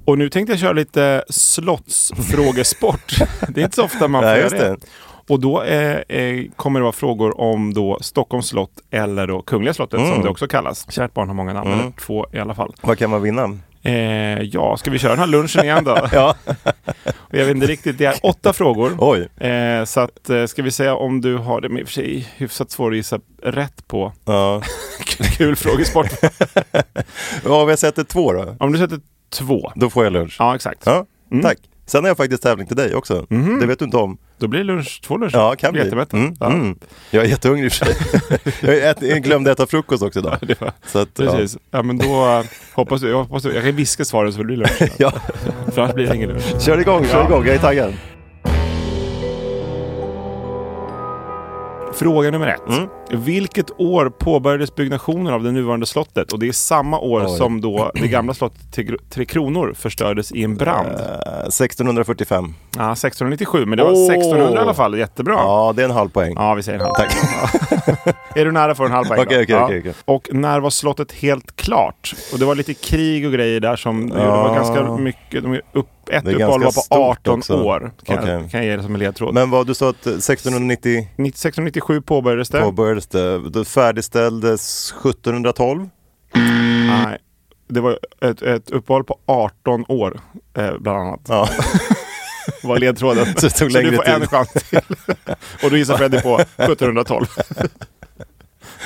S3: Och nu tänkte jag köra lite
S2: (laughs)
S3: slottsfrågesport. det är inte så ofta man får
S2: Nej,
S3: göra
S2: just
S3: det.
S2: det.
S3: Och då eh, eh, kommer det vara frågor om då Stockholms slott eller då Kungliga slottet
S2: Mm.
S3: som det också kallas. Kärt barn har många namn, eller två i alla fall.
S2: Vad kan man vinna?
S3: Eh, ja, ska vi köra den här
S2: (laughs)
S3: lunchen igen då?
S2: Ja.
S3: Jag vet inte riktigt, det är åtta frågor.
S2: Oj!
S3: Eh, så att, eh, ska vi säga om du har det, men i och för sig hyfsat svår att gissa rätt på. (laughs)
S2: Ja.
S3: Kul frågesport.
S2: ja, vi sätter två då.
S3: om du sätter två.
S2: Då får jag lunch.
S3: Ja, Mm. exakt.
S2: Ja, tack! Sen har jag faktiskt tävling till dig också. Det vet du inte om.
S3: Då blir det lunch, två luncher.
S2: Ja, kan bli.
S3: Jättemättat.
S2: Mm,
S3: Mhm. Ja.
S2: mm. Jag är jättehungrig i och för
S3: (laughs)
S2: sig. jag, ät, jag glömde äta frukost också idag.
S3: Det var-
S2: Så att, ja.
S3: Precis. Ja, men då
S2: (laughs)
S3: eh, hoppas du, jag, hoppas du, jag kan viska svaren så det blir lunch.
S2: Ja.
S3: För annars blir det ingen lunch.
S2: Kör igång, kör
S3: Ja.
S2: igång, jag är taggad.
S3: Fråga nummer ett.
S2: Mm.
S3: Vilket år påbörjades byggnationen av det nuvarande slottet? Och det är samma år
S2: Oj.
S3: som då det
S2: (clears throat)
S3: gamla slottet Tre- Tre Kronor förstördes i en brand.
S2: Eh, 1645.
S3: Ja, 1697, men det var
S2: Åh.
S3: 1600 i alla fall. Jättebra.
S2: Ja, det är en halv poäng.
S3: Ja, vi säger en halv.
S2: Tack.
S3: (laughs) Är du nära får du en halv poäng. då.
S2: Okej, okej,
S3: ja.
S2: okej, okej.
S3: Och när var slottet helt klart? Och det var lite krig och grejer där som det var ganska mycket. De är upp, ett
S2: Det är
S3: uppehåll var
S2: ganska
S3: på
S2: stort
S3: 18
S2: också.
S3: år. Kan,
S2: Okej.
S3: jag, kan jag ge det som en ledtråd.
S2: Men vad du sa att 1690
S3: Nitt- 1697 påbörjades det.
S2: påbörjades det. Det färdigställdes 1712.
S3: Nej. Det var ett, ett uppehåll på 18 år, eh, bland annat.
S2: (laughs) Ja.
S3: var ledtråden.
S2: (laughs) Så det tog längre
S3: du får en
S2: tid.
S3: chans till. (laughs) och då gissar Freddy på
S2: (laughs)
S3: 1712.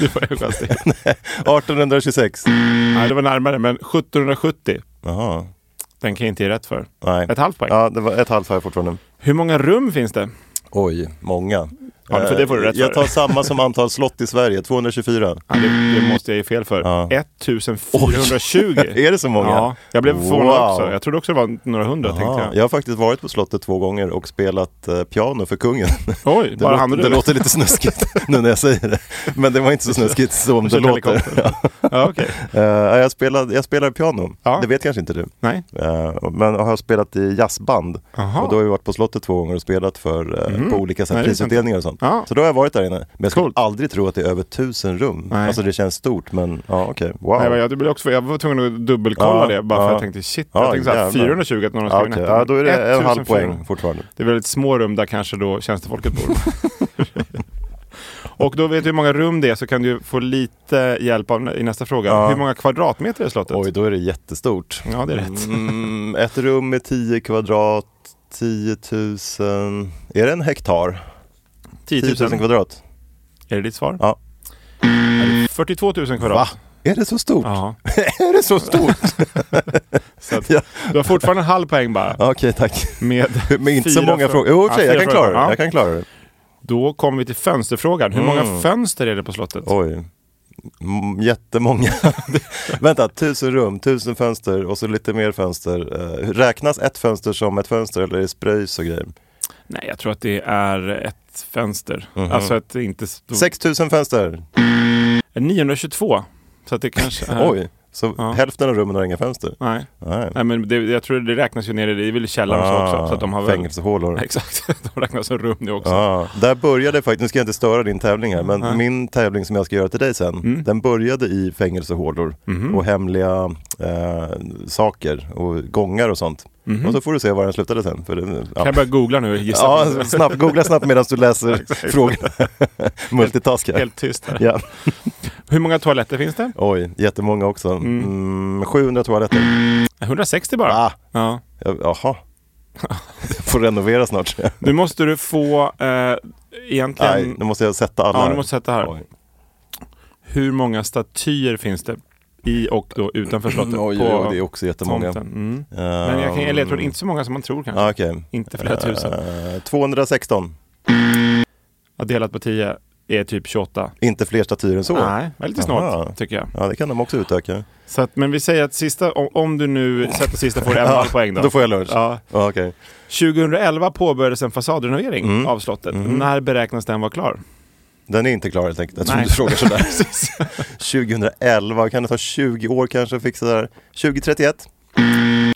S3: du får en chans till.
S2: 1826.
S3: Nej, det var närmare, men 1770.
S2: Jaha.
S3: Den kan jag inte ge rätt för.
S2: Nej.
S3: Ett halvt poäng.
S2: Ja, det var ett halvt poäng fortfarande.
S3: Hur många rum finns det?
S2: Oj, många.
S3: Ja, för det får du
S2: Eh,
S3: rätt
S2: Jag
S3: för.
S2: tar samma som antal slott i Sverige, 224.
S3: Ja, det, det måste jag ge fel för.
S2: Ja.
S3: 1420.
S2: (laughs) Är det så många?
S3: Ja, jag blev förvånad
S2: Wow.
S3: också. Jag trodde också det var några hundra,
S2: Aha.
S3: tänkte
S2: Jag
S3: jag.
S2: har faktiskt varit på slottet två gånger och spelat eh, piano för kungen.
S3: (laughs) Oj,
S2: Det,
S3: bara
S2: låter-
S3: han och du.
S2: det låter lite
S3: (laughs)
S2: snuskigt nu när jag säger det. Men det var inte så snuskigt som det
S3: Ursäkta
S2: låter.
S3: helikoptern. Ja, okej.
S2: Eh, jag, spelar, jag spelar piano,
S3: Ja.
S2: det vet kanske inte du.
S3: Nej.
S2: Eh, men jag har spelat i jazzband.
S3: Aha. Mhm.
S2: Och då har jag varit på Slottet två gånger och spelat för, eh, på olika så här,
S3: Nej, det är sant.
S2: prisutdelningar och sånt.
S3: Ja.
S2: Så då har jag varit där inne. Men jag skulle
S3: Coolt.
S2: aldrig tro att det är över tusen rum.
S3: Nej.
S2: Alltså det känns stort men ja okej, wow.
S3: Nej, men jag, det blev också, jag var tvungen att dubbelkolla
S2: Ja,
S3: det bara för
S2: ja.
S3: jag tänkte shit,
S2: Ja,
S3: jag tänkte såhär,
S2: jävlar.
S3: 420 att någon har
S2: Ja,
S3: skrivit
S2: okej.
S3: nätterna.
S2: ja, då är det en halv
S3: 1400.
S2: poäng fortfarande.
S3: Det är väldigt små rum där kanske då tjänstefolket
S2: (laughs)
S3: bor. Och då vet du hur många rum det är så kan du få lite hjälp av, i nästa fråga.
S2: Ja.
S3: Hur många kvadratmeter är slottet?
S2: Oj, då är det jättestort.
S3: Ja, det är rätt.
S2: Mm, ett rum med 10 kvadrat, 10 000, är det en hektar?
S3: 10 000.
S2: 10 000 kvadrat?
S3: Är det ditt svar?
S2: Ja.
S3: Är det 42 000 kvadrat.
S2: Va? Är det så stort?
S3: (laughs) Ja.
S2: är det så stort?
S3: Så
S2: (laughs)
S3: att,
S2: Ja.
S3: Du har fortfarande en halv poäng bara.
S2: (laughs) Ja, Okej, tack.
S3: Med
S2: Men inte så
S3: fyra
S2: många
S3: frå-
S2: frågor. Jo, i och för sig,
S3: Ja,
S2: jag
S3: fyra
S2: kan klara det.
S3: frågor. Ja.
S2: Jag kan klara det. Mm.
S3: Då kommer vi till fönsterfrågan. Hur många fönster är det på slottet?
S2: Oj. m- jättemånga. (laughs) Vänta, tusen rum, tusen fönster och så lite mer fönster. Eh, räknas ett fönster som ett fönster eller är det spröjs och grejer?
S3: Nej, jag tror att det är ett fönster.
S2: Mhm.
S3: Alltså ett inte... stort-
S2: 6000 fönster!
S3: 922. Så att
S2: (laughs)
S3: det kanske är...
S2: Oj, så
S3: Ja.
S2: hälften av rummen har inga fönster?
S3: Nej,
S2: Nej.
S3: Nej men det, jag tror det räknas ju ner i, det är väl i källaren och så också. Så att de har väl...
S2: Ah, Fängelsehålor.
S3: (laughs) Exakt, de räknas som rum nu också.
S2: Ja, där började faktiskt, nu ska jag inte störa din tävling här, men min tävling som jag ska göra till dig sen,
S3: Mm.
S2: den började i fängelsehålor
S3: Mhm.
S2: och hemliga eh, saker och gångar och sånt. Och så får du se var den slutade sen. För det,
S3: Mhm. Kan
S2: ja.
S3: jag börja googla nu och gissa?
S2: Ja, snabbt, googla snabbt medan du
S3: (laughs)
S2: läser frågan. (laughs) Multitaska.
S3: Helt tyst här.
S2: Ja.
S3: Hur många toaletter finns det?
S2: Oj, jättemånga också. Mm, 700 toaletter.
S3: 160 bara.
S2: Ah,
S3: Ja.
S2: ja,
S3: (laughs)
S2: jaha. Får renovera snart.
S3: Nu måste du få eh,
S2: Nej,
S3: egentligen...
S2: nu måste jag sätta alla.
S3: ja, du måste sätta här.
S2: Oj.
S3: Hur många statyer finns det i och då utanför
S2: (clears throat)
S3: slottet?
S2: Mm, Oj, oj, oj, det är också jättemånga.
S3: tomten? Mm.
S2: typ Ehm,
S3: Men jag, kan, eller jag tror inte så många som man tror kanske.
S2: Ja, okej.
S3: Inte flera tusen.
S2: Eh, 216.
S3: Ja, delat på 10 är typ 28.
S2: Inte fler statyer än så.
S3: Nej, det är lite snålt
S2: Aha.
S3: tycker jag.
S2: Ja, det kan de också utöka.
S3: Så att, men vi säger att sista, om, om du nu sätter sista
S2: (laughs)
S3: får du en och en halv poäng då.
S2: Då får jag lunch.
S3: Ja.
S2: Ja, okej.
S3: 2011 påbörjades en fasadrenovering
S2: Mm.
S3: av slottet. När beräknas den vara klar?
S2: Den är inte klar helt enkelt. Jag tror
S3: Nej.
S2: du (laughs) frågar sådär. 2011, kan det ta 20 år kanske att fixa det här? 2031?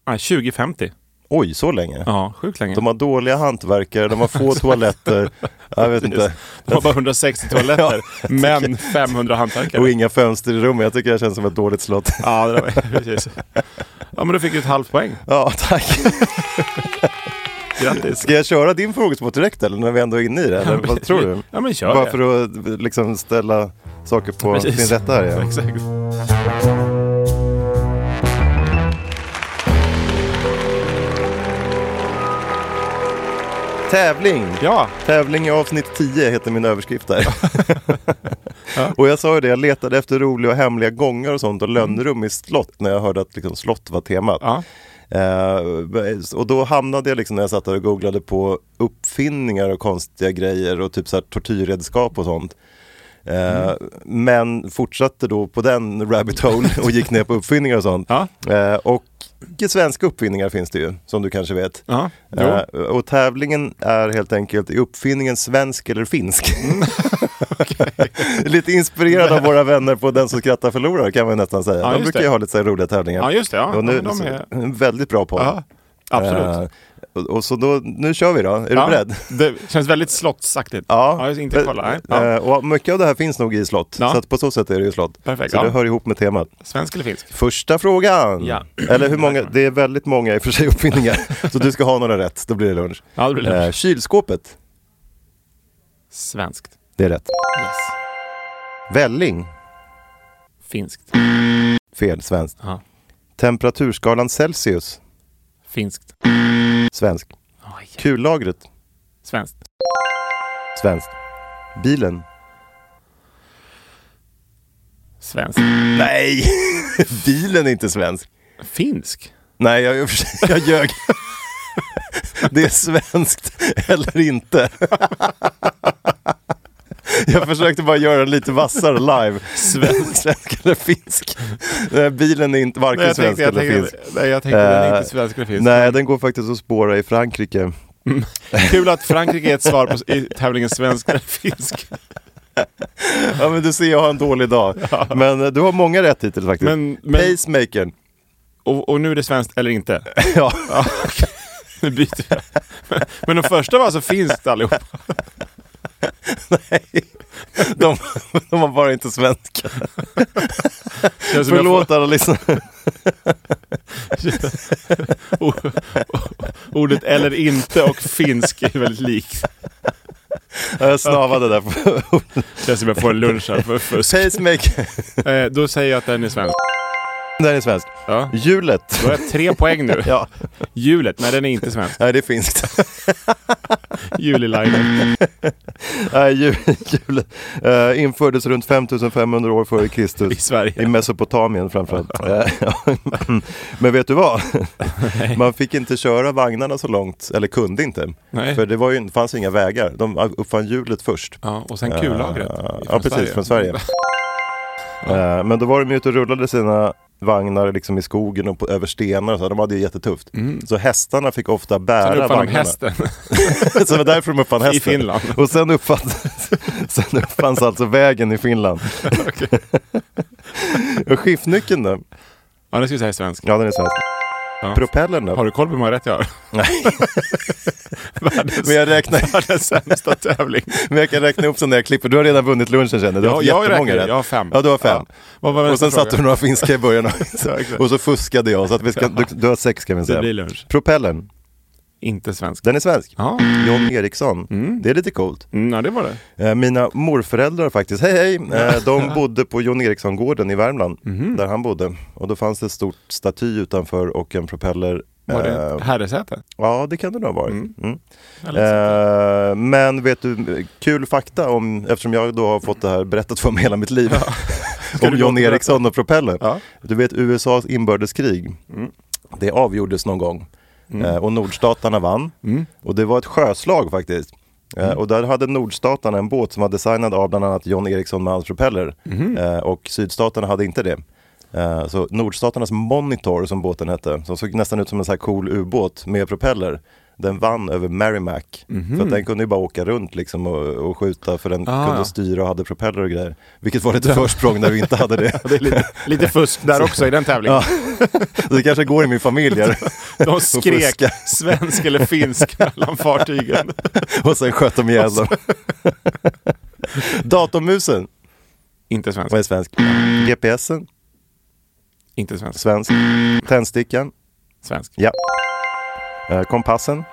S3: Ah, 2050.
S2: Oj, så länge?
S3: Ja, sjukt länge.
S2: De har dåliga hantverkare, de har
S3: (laughs)
S2: få toaletter. Jag vet inte.
S3: De har bara 160 toaletter,
S2: (laughs)
S3: men 500
S2: Och
S3: hantverkare.
S2: inga fönster i rummet. Jag tycker det känns som ett dåligt
S3: (laughs)
S2: slott.
S3: Ja, det där var, precis. Ja, men då fick du ett halvt poäng.
S2: Ja, tack.
S3: Grattis.
S2: Ska jag köra din frågesport direkt eller när vi ändå är inne i det? Eller, vad tror du?
S3: Ja, men kör
S2: Bara
S3: det.
S2: för att liksom ställa saker på
S3: Precis.
S2: sin rätta här. Ja.
S3: Exakt.
S2: Tävling!
S3: Ja,
S2: Tävling i avsnitt 10 heter min överskrift där. (laughs) och jag sa ju det, jag letade efter roliga och hemliga gångar och sånt och lönnrum i slott när jag hörde att liksom slott var temat.
S3: ja.
S2: Eh, och då hamnade jag liksom när jag satt där och googlade på uppfinningar och konstiga grejer och typ så här tortyrredskap och sånt. Eh,
S3: Mm.
S2: Men fortsatte då på den rabbit hole och gick ner på uppfinningar och sånt.
S3: Ja.
S2: Eh, och svenska uppfinningar finns det ju, som du kanske vet.
S3: ja. Jo.
S2: Eh, och tävlingen är helt enkelt i uppfinningen svensk eller finsk.
S3: Mm.
S2: (laughs) lite inspirerad av våra vänner på Den som skrattar förlorar kan man nästan säga.
S3: Ja,
S2: De
S3: just
S2: brukar
S3: det.
S2: ju ha lite så här roliga tävlingar.
S3: Ja, just det. Ja.
S2: Och nu,
S3: ja, men de är...
S2: så, en (laughs) väldigt bra podd.
S3: ja. Absolut.
S2: Eh, och, och så då, nu kör vi då. Är
S3: Ja,
S2: du
S3: (laughs)
S2: beredd?
S3: Det känns väldigt slottsaktigt. ja jag ska inte kolla. Nej. Ja.
S2: Eh, Och mycket av det här finns nog i slott.
S3: Ja.
S2: Så att på så sätt är det ju slott.
S3: Perfekt,
S2: så
S3: ja.
S2: det hör ihop med temat.
S3: Svensk eller finsk?
S2: Första frågan.
S3: Ja.
S2: Eller hur
S3: (clears throat)
S2: många? Det är väldigt många i och för sig uppfinningar. så du ska ha några rätt, då blir det lunch.
S3: Ja, det blir
S2: Eh,
S3: lunch.
S2: kylskåpet.
S3: Svenskt.
S2: Det är rätt.
S3: Yes.
S2: Välling.
S3: Finskt.
S2: Fel, svenskt.
S3: Ja.
S2: Temperaturskalan Celsius.
S3: Finskt.
S2: Svensk.
S3: Oj.
S2: Kullagret.
S3: Svenskt.
S2: Svenskt. Bilen.
S3: Svenskt.
S2: Nej! (laughs) Bilen är inte svensk.
S3: Finsk?
S2: Nej, jag, (laughs) jag ljög. Det är svenskt eller inte. Jag försökte bara göra den lite vassare live. Svensk, svensk eller finsk. Nej, bilen är inte varken
S3: jag
S2: svensk
S3: tänkte, jag
S2: eller
S3: tänkte,
S2: finsk.
S3: nej, jag tänkte den är
S2: Eh,
S3: inte svensk eller finsk.
S2: Nej, den går faktiskt att spåra i Frankrike.
S3: Kul att Frankrike är ett svar på i tävlingen svensk eller finsk.
S2: Ja, men du ser, jag har en dålig dag. Men eh, du har många rätt hittills faktiskt.
S3: Men- men-
S2: Pacemakern.
S3: Och, och nu är det svenskt eller inte.
S2: Ja.
S3: Nu byter vi. Men de första var alltså finskt allihop.
S2: (laughs) De, de var bara inte svenska.
S3: Känns som jag
S2: Förlåt alla lyssnare.
S3: får- o- o- Ordet eller inte och finsk är väldigt likt.
S2: Jag snavade där.
S3: Känns som jag får en lunch här för fusk.
S2: Pacemaker.
S3: Eh, då säger jag att den är svensk.
S2: (laughs) Den är svensk.
S3: Ja.
S2: Hjulet.
S3: Då har jag tre poäng nu.
S2: Ja,
S3: Hjulet, nej den är inte svensk.
S2: nej det är
S3: (laughs)
S2: finskt.
S3: Juliliner.
S2: Nej, ju- Hjulet eh, infördes runt 5500 år före Kristus.
S3: I Sverige.
S2: I Mesopotamien framförallt. Eh, (laughs) ja. Men vet du vad? Man fick inte köra vagnarna så långt, eller kunde inte.
S3: Nej.
S2: För det var ju, fanns inga vägar. De uppfann hjulet först.
S3: Ja, och sen kullagret.
S2: Eh,
S3: från (laughs)
S2: Ja, precis, från Sverige. Eh, Men då var de ju ute och rullade sina vagnar liksom i skogen och på, över stenar och så. De hade ju jättetufft. Så hästarna fick ofta
S3: Mm. Sen
S2: bära
S3: uppfann de
S2: vagnarna.
S3: hästen.
S2: (laughs) så det var därför de uppfann
S3: I
S2: hästen.
S3: Finland.
S2: Och sen uppfanns, (laughs) sen uppfanns alltså vägen i
S3: (laughs)
S2: Finland. (laughs) och skiftnyckeln då?
S3: Ja, det ska vi säga i svensk.
S2: Ja, den är svensk.
S3: Ja.
S2: Propellern då?
S3: Har du koll på hur många rätt jag har?
S2: Nej.
S3: (laughs) Världens,
S2: Men jag räknar-
S3: världens sämsta tävling.
S2: Men jag kan räkna upp sådana där klipper. Du har redan vunnit lunchen känner du. Du har
S3: jag, jag,
S2: jättemånga
S3: räknar,
S2: rätt.
S3: jag har fem.
S2: Ja, du har fem.
S3: Ja. Vad var
S2: Och sen
S3: nästa
S2: satte du
S3: fråga?
S2: några finska i
S3: (laughs)
S2: början och,
S3: exakt.
S2: och så fuskade jag. Så att vi ska, du, du har sex kan vi
S3: Det blir
S2: säga.
S3: lunch.
S2: Propellern,
S3: Inte svensk.
S2: den är svensk.
S3: Ja,
S2: John Eriksson, det är lite coolt.
S3: mm, ja, det var det.
S2: Eh, Mina morföräldrar faktiskt, hej hej, eh, de bodde på John Eriksson-gården i Värmland,
S3: Mhm.
S2: där han bodde. Och då fanns det ett stort staty utanför och en propeller.
S3: Var det
S2: Eh,
S3: herresäte?
S2: ja, det kan det nog ha varit. Mm.
S3: Eller-
S2: Eh, men vet du, kul fakta om, eftersom jag då har fått det här berättat för mig hela mitt (laughs) liv. om
S3: du
S2: John
S3: gott berätta?
S2: Eriksson och propellern.
S3: Ja. Mm.
S2: Du vet USAs inbördeskrig, det avgjordes någon gång. Eh, och nordstaterna vann.
S3: Mm.
S2: Och det var ett sjöslag faktiskt. Eh, Och där hade nordstaterna en båt som var designad av bland annat John Eriksson med hans propeller.
S3: Mhm.
S2: Eh, och sydstaterna hade inte det. Eh, så nordstaternas Monitor som båten hette, som såg nästan ut som en så här cool ubåt med propeller. Den vann över Merrimack. För att den kunde ju bara åka runt liksom och, och skjuta för den
S3: Mhm. Ah,
S2: kunde
S3: ja.
S2: styra och hade propeller och grejer. Vilket var ett försprång när vi inte hade
S3: (laughs)
S2: det.
S3: Det är lite, lite fusk där också i den tävlingen.
S2: (laughs) Ja. (laughs) Det kanske går i min familj här.
S3: (laughs)
S2: (laughs)
S3: De skrek
S2: fuska.
S3: svensk eller finsk
S2: (laughs)
S3: mellan fartygen.
S2: och sen sköt de ihjäl dem. (laughs) Datormusen
S3: Inte svensk.
S2: var är svensk. GPSen,
S3: Inte svensk.
S2: svensk. Tändstickan,
S3: Svensk.
S2: ja. Eh, Kompassen,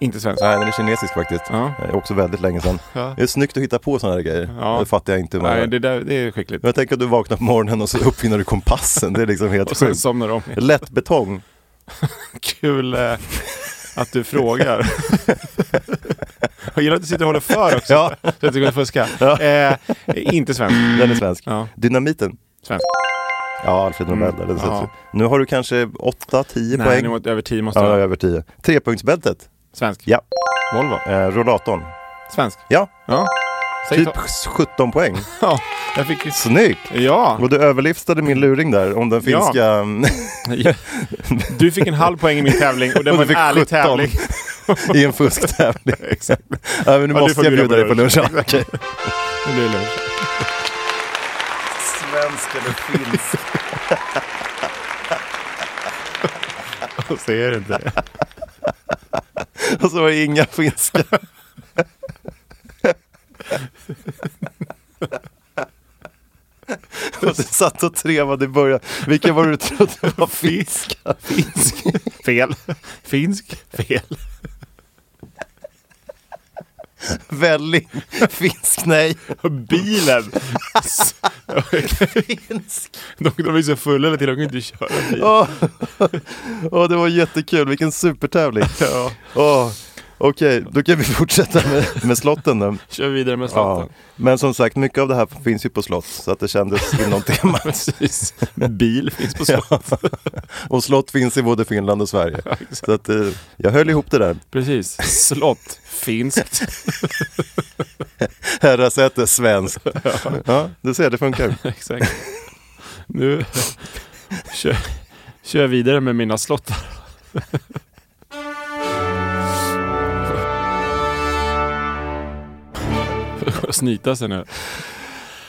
S3: Inte svensk.
S2: nej den är kinesisk faktiskt.
S3: Ja.
S2: Eh, också väldigt länge sedan.
S3: Ja.
S2: Det är snyggt att hitta på sådana här grejer.
S3: Ja.
S2: Det fattar jag inte. hur man gör.
S3: Nej, det, där, det är skickligt.
S2: Men jag tänker att du vaknar på morgonen och så uppfinner du kompassen. Det är liksom helt
S3: (laughs) Och sen
S2: sjukt.
S3: somnar de.
S2: Lätt betong.
S3: Kul eh, att du frågar. Jag gillar att du sitter och håller för också.
S2: Ja.
S3: Så att du kan fuska. Eh, inte svensk.
S2: Den är svensk.
S3: Ja.
S2: Dynamiten.
S3: Svensk.
S2: Ja, Alfred Nobel. där, Den
S3: Ja.
S2: sätts ju. Nu har du kanske 8-10
S3: Nej,
S2: poäng.
S3: nu var det över tio måste
S2: Ja,
S3: jag.
S2: över 10. Trepunktsbältet.
S3: Svensk.
S2: Ja.
S3: Volvo.
S2: Eh, rollatorn.
S3: Svensk.
S2: Ja,
S3: Ja. Säg
S2: typ
S3: så.
S2: 17 poäng.
S3: Ja, jag fick...
S2: Snyggt!
S3: Ja,
S2: Och du överliftade min luring där om den
S3: Ja.
S2: finska... mm,
S3: du fick en halv poäng i min tävling och det
S2: Och du
S3: var en
S2: fick
S3: ärlig
S2: 17.
S3: tävling.
S2: (laughs) (laughs) I en fusktävling. (laughs) ja, men nu
S3: Ja, du
S2: måste
S3: får
S2: jag
S3: bjuda
S2: bjuda dig
S3: på
S2: på
S3: (laughs)
S2: lunch. (laughs) Okej.
S3: Men det är lugnt.
S2: Svensk eller finsk?
S3: Och så är det inte det.
S2: Och så var det inga finska. Och du satt och trevade i början. Vilken var det du trodde var finska?
S3: Finsk. Fel. Finsk. Fel.
S2: Välling? Finsk? Nej.
S3: Och bilen.
S2: Finsk?
S3: (laughs) De, de är så fulla hela tiden, de kan inte köra bil.
S2: Åh, Åh, det var jättekul, vilken supertävling.
S3: Ja.
S2: Åh, Okej, då kan vi fortsätta med, med slotten
S3: (laughs)
S2: då.
S3: Kör vidare med
S2: Ja.
S3: slotten.
S2: Men som sagt, mycket av det här finns ju på slott, så att det kändes
S3: (laughs)
S2: inom temat.
S3: Precis. Bil finns på slott.
S2: Och slott finns i både Finland och Sverige. Så att, eh, jag höll ihop det där.
S3: Precis. Slott. Finskt.
S2: Herrasäte,
S3: (laughs)
S2: svenskt. Ja, du ser, det funkar.
S3: Exakt. (laughs) Nu kör, kör jag vidare med mina slottar. Och Snyta sig nu.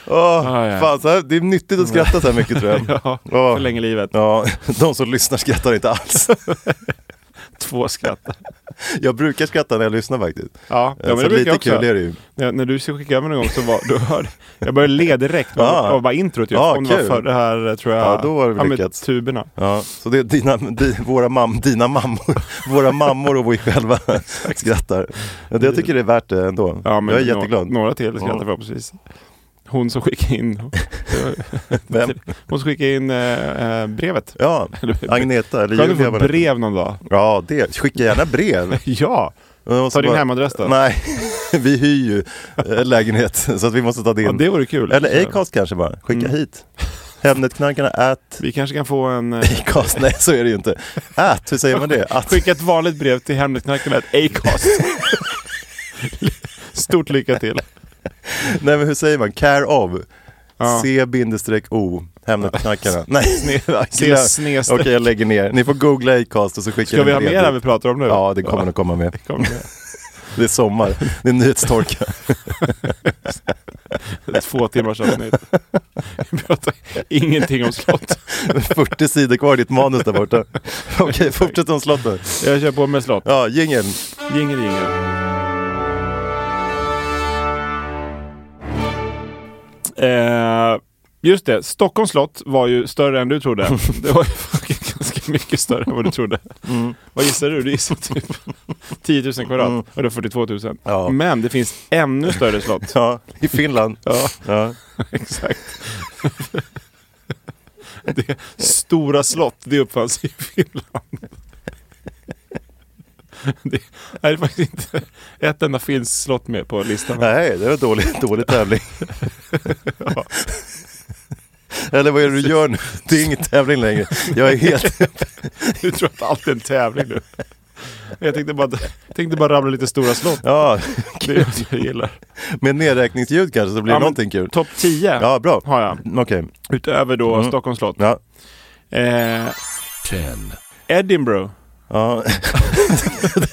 S2: Åh,
S3: Ah, ja.
S2: fan, så här, det är nyttigt att skratta så här mycket tror jag.
S3: (laughs) Ja,
S2: Ja.
S3: förlänger livet.
S2: Ja, de som lyssnar skrattar inte alls.
S3: Två skratt.
S2: Jag brukar skratta när jag lyssnar faktiskt.
S3: Ja, ja men
S2: så
S3: det brukar
S2: lite
S3: jag också.
S2: kul är det ju.
S3: När, när du ska skicka över någon gång så var, då hörde, jag började le direkt av
S2: Ah.
S3: av bara introt ju.
S2: Ah,
S3: Om det var
S2: kul.
S3: för det här eh, tror jag.
S2: Ja, då var det
S3: ja, med
S2: lyckats.
S3: tuberna.
S2: Ja, så det är dina, di, våra, mam, dina mammor, (laughs) våra mammor och vi
S3: (laughs)
S2: själva skrattar. Ja, det, jag tycker det är värt det ändå.
S3: Ja, men
S2: jag är
S3: nå-
S2: jätteglad.
S3: Några till skrattar
S2: Ja.
S3: förhoppningsvis. Hon som
S2: (laughs)
S3: skickade in,
S2: Vem?
S3: hon som skickade in eh, eh, brevet. (laughs)
S2: Ja, Agneta eller
S3: Skönt att
S2: Julia.
S3: få
S2: var det.
S3: brev
S2: (laughs)
S3: någon dag.
S2: Ja, det. Skicka gärna brev.
S3: Ja,
S2: Jag måste
S3: (laughs) ta din
S2: bara-
S3: hemadress då.
S2: Nej, (laughs) vi hyr ju eh, lägenhet (laughs) så att vi måste ta det
S3: Ja,
S2: in.
S3: det Mm. vore kul.
S2: Eller Acast kanske bara. Skicka hit. Hemnetknarkarna
S3: (laughs)
S2: at
S3: Vi kanske kan få
S2: (laughs)
S3: en... eh,
S2: Acast. Nej, så är det ju inte. At, hur säger man det? Att.
S3: Skicka ett vanligt brev till Hemnetknarkarna, ett
S2: (laughs)
S3: Acast. Stort lycka till.
S2: Nej, men hur säger man? Care of.
S3: Ja.
S2: C-O,
S3: (laughs)
S2: Hemnetknarkarna. Nej, snedvärk.
S3: Se snedstreck.
S2: Okej, jag lägger ner. Ni får googla Acast och så skickar
S3: Ska vi ha
S2: brev
S3: mer än vi
S2: dit.
S3: pratar om nu?
S2: Ja, det kommer nog komma med.
S3: Kom med.
S2: (laughs) Det är sommar, det är nyhetstorka.
S3: Ett två timmars avsnitt.
S2: (laughs)
S3: Vi pratar ingenting om slott.
S2: 40 sidor kvar i ditt manus där
S3: (laughs)
S2: borta. Okej, fortsätt om slottet.
S3: Jag kör på med slott.
S2: Ja, jingeln.
S3: Jingel, jingel. Eh, just det, Stockholms slott var ju större än du trodde. Det var ju fucking ganska mycket större än vad du trodde. Vad gissar du? Du gissar typ 10 000 kvadrat och det är 42 000.
S2: Ja.
S3: Men det finns ännu större slott.
S2: Ja, i Finland.
S3: Ja,
S2: (laughs) Ja.
S3: (laughs) exakt. Det stora slott, det uppfanns i Finland. Det det är faktiskt inte ett enda finskt slott med på listan.
S2: Nej, det var en dålig, dålig
S3: (laughs)
S2: tävling. Eller vad är det du gör nu? Det är ingen tävling längre. Jag är
S3: (laughs)
S2: helt...
S3: Du tror att allt är en tävling nu. Jag tänkte bara, tänkte bara rabbla lite stora slott.
S2: Ja,
S3: Det är det jag gillar.
S2: med nedräkningsljud kanske så blir det
S3: Ja, men
S2: någonting kul.
S3: Topp 10
S2: Ja, bra. Mm.
S3: har jag.
S2: Okej.
S3: Utöver då Stockholms slott.
S2: Ja.
S3: Eh,
S4: 10,
S3: Edinburgh.
S2: ja. (laughs)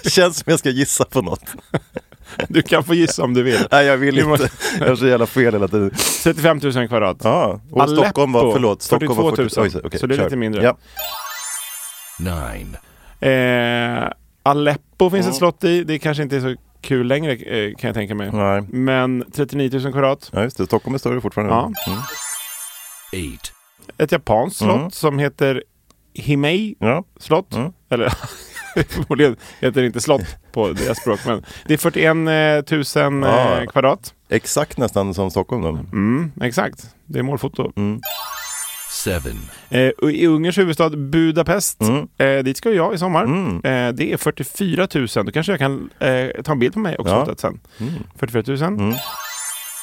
S2: Det känns som jag ska gissa på något.
S3: Du kan få gissa om du vill.
S2: Nej, jag vill
S3: Du måste-
S2: inte. Jag har så jävla fel hela tiden.
S3: 35 000 kvadrat.
S2: Ja, och
S3: Aleppo,
S2: Stockholm var, förlåt, Stockholm var
S3: 42 000.
S2: 40 Oj, okej,
S3: Så det är
S2: kör.
S3: lite mindre.
S2: Ja.
S4: 9,
S3: Eh, Aleppo finns ett slott i. Det kanske inte är så kul längre eh, kan jag tänka mig.
S2: Nej.
S3: Men 39 000 kvadrat.
S2: ja, just det. Stockholm är större fortfarande.
S3: Ja.
S2: Mm.
S4: 8,
S3: Ett japanskt slott
S2: Mm.
S3: som heter Himei
S2: Ja.
S3: slott.
S2: Mm.
S3: Eller (laughs) förmodligen heter det inte slott på deras språk. Men det är 41 000
S2: Ja.
S3: eh, kvadrat.
S2: Exakt nästan som Stockholm då.
S3: Mm, exakt. Det är målfoto.
S2: Mm.
S4: 7,
S3: Eh, och I Ungerns huvudstad Budapest,
S2: Mm.
S3: eh, dit ska jag i sommar.
S2: Mm.
S3: Eh, det är 44 000. Då kanske jag kan eh, ta en bild på mig och
S2: Ja. Mm.
S3: slottet sen. 44 000.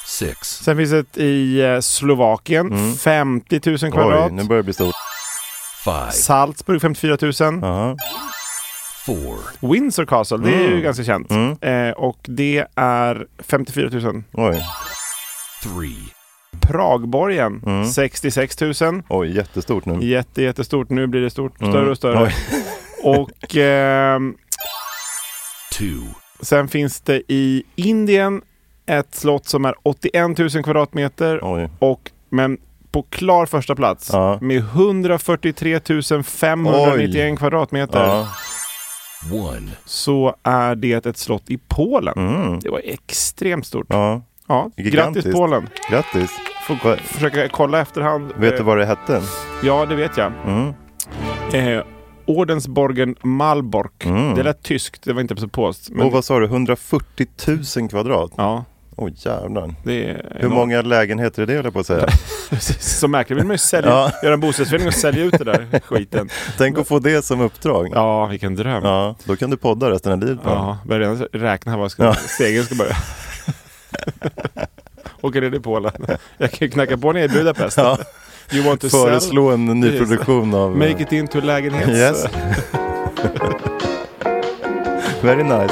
S4: 6,
S3: Sen finns ett i eh, Slovakien, 50 000 kvadrat.
S2: Mm. Oj, nu börjar det bli stort.
S4: 5,
S3: Salzburg 54 000.
S2: Jaha.
S4: 4,
S3: Windsor Castle, det är ju ganska känt.
S2: Mm.
S3: Eh, och det är 54 000.
S2: Oj.
S4: 3,
S3: Pragborgen,
S2: Mm.
S3: 66 000.
S2: Oj, jättestort nu.
S3: Jätte, jättestort. Nu blir det stort. Större och större.
S2: Mm. Oj. (laughs)
S3: Och ehm,
S4: 2,
S3: sen finns det i Indien ett slott som är 81 000 kvadratmeter.
S2: Oj.
S3: Och, men på klar första plats
S2: Ja.
S3: med 143 591 kvadratmeter
S2: Ja.
S4: 1,
S3: så är det ett slott i Polen. Det var extremt stort. Ja.
S2: Mm. ja,
S3: Grattis
S2: Gigantiskt.
S3: Polen!
S2: grattis. Va-
S3: Försöka kolla efterhand.
S2: Vet du
S3: Eh,
S2: vad det hette?
S3: Ja, det vet jag.
S2: Mm.
S3: Eh, Ordensborgen Malbork. Det lät tyskt, det var inte så påst. Men,
S2: Mm. Och vad sa du, 140 000 kvadrat?
S3: ja,
S2: Oj jävlar.
S3: det är
S2: Hur många lägenheter är det höll jag på att säga?
S3: Så märkligt vill man ju sälja,
S2: Ja.
S3: göra en bostadsförening och sälja ut det där
S2: (laughs)
S3: skiten.
S2: (laughs) Tänk att få det som uppdrag.
S3: Ja, vilken dröm. Ja.
S2: Ja, då kan du podda resten av livet. Ja.
S3: Ja, börjar redan räkna här vad jag ska,
S2: Ja.
S3: stegen ska börja. Åker ner till Polen. Jag kan ju knacka på ner i Budapest.
S2: (laughs) Ja.
S3: You want to sell?
S2: Föreslå en ny produktion av... eh,
S3: Make it into (laughs) lägenhet.
S2: Yes. (laughs) Very nice.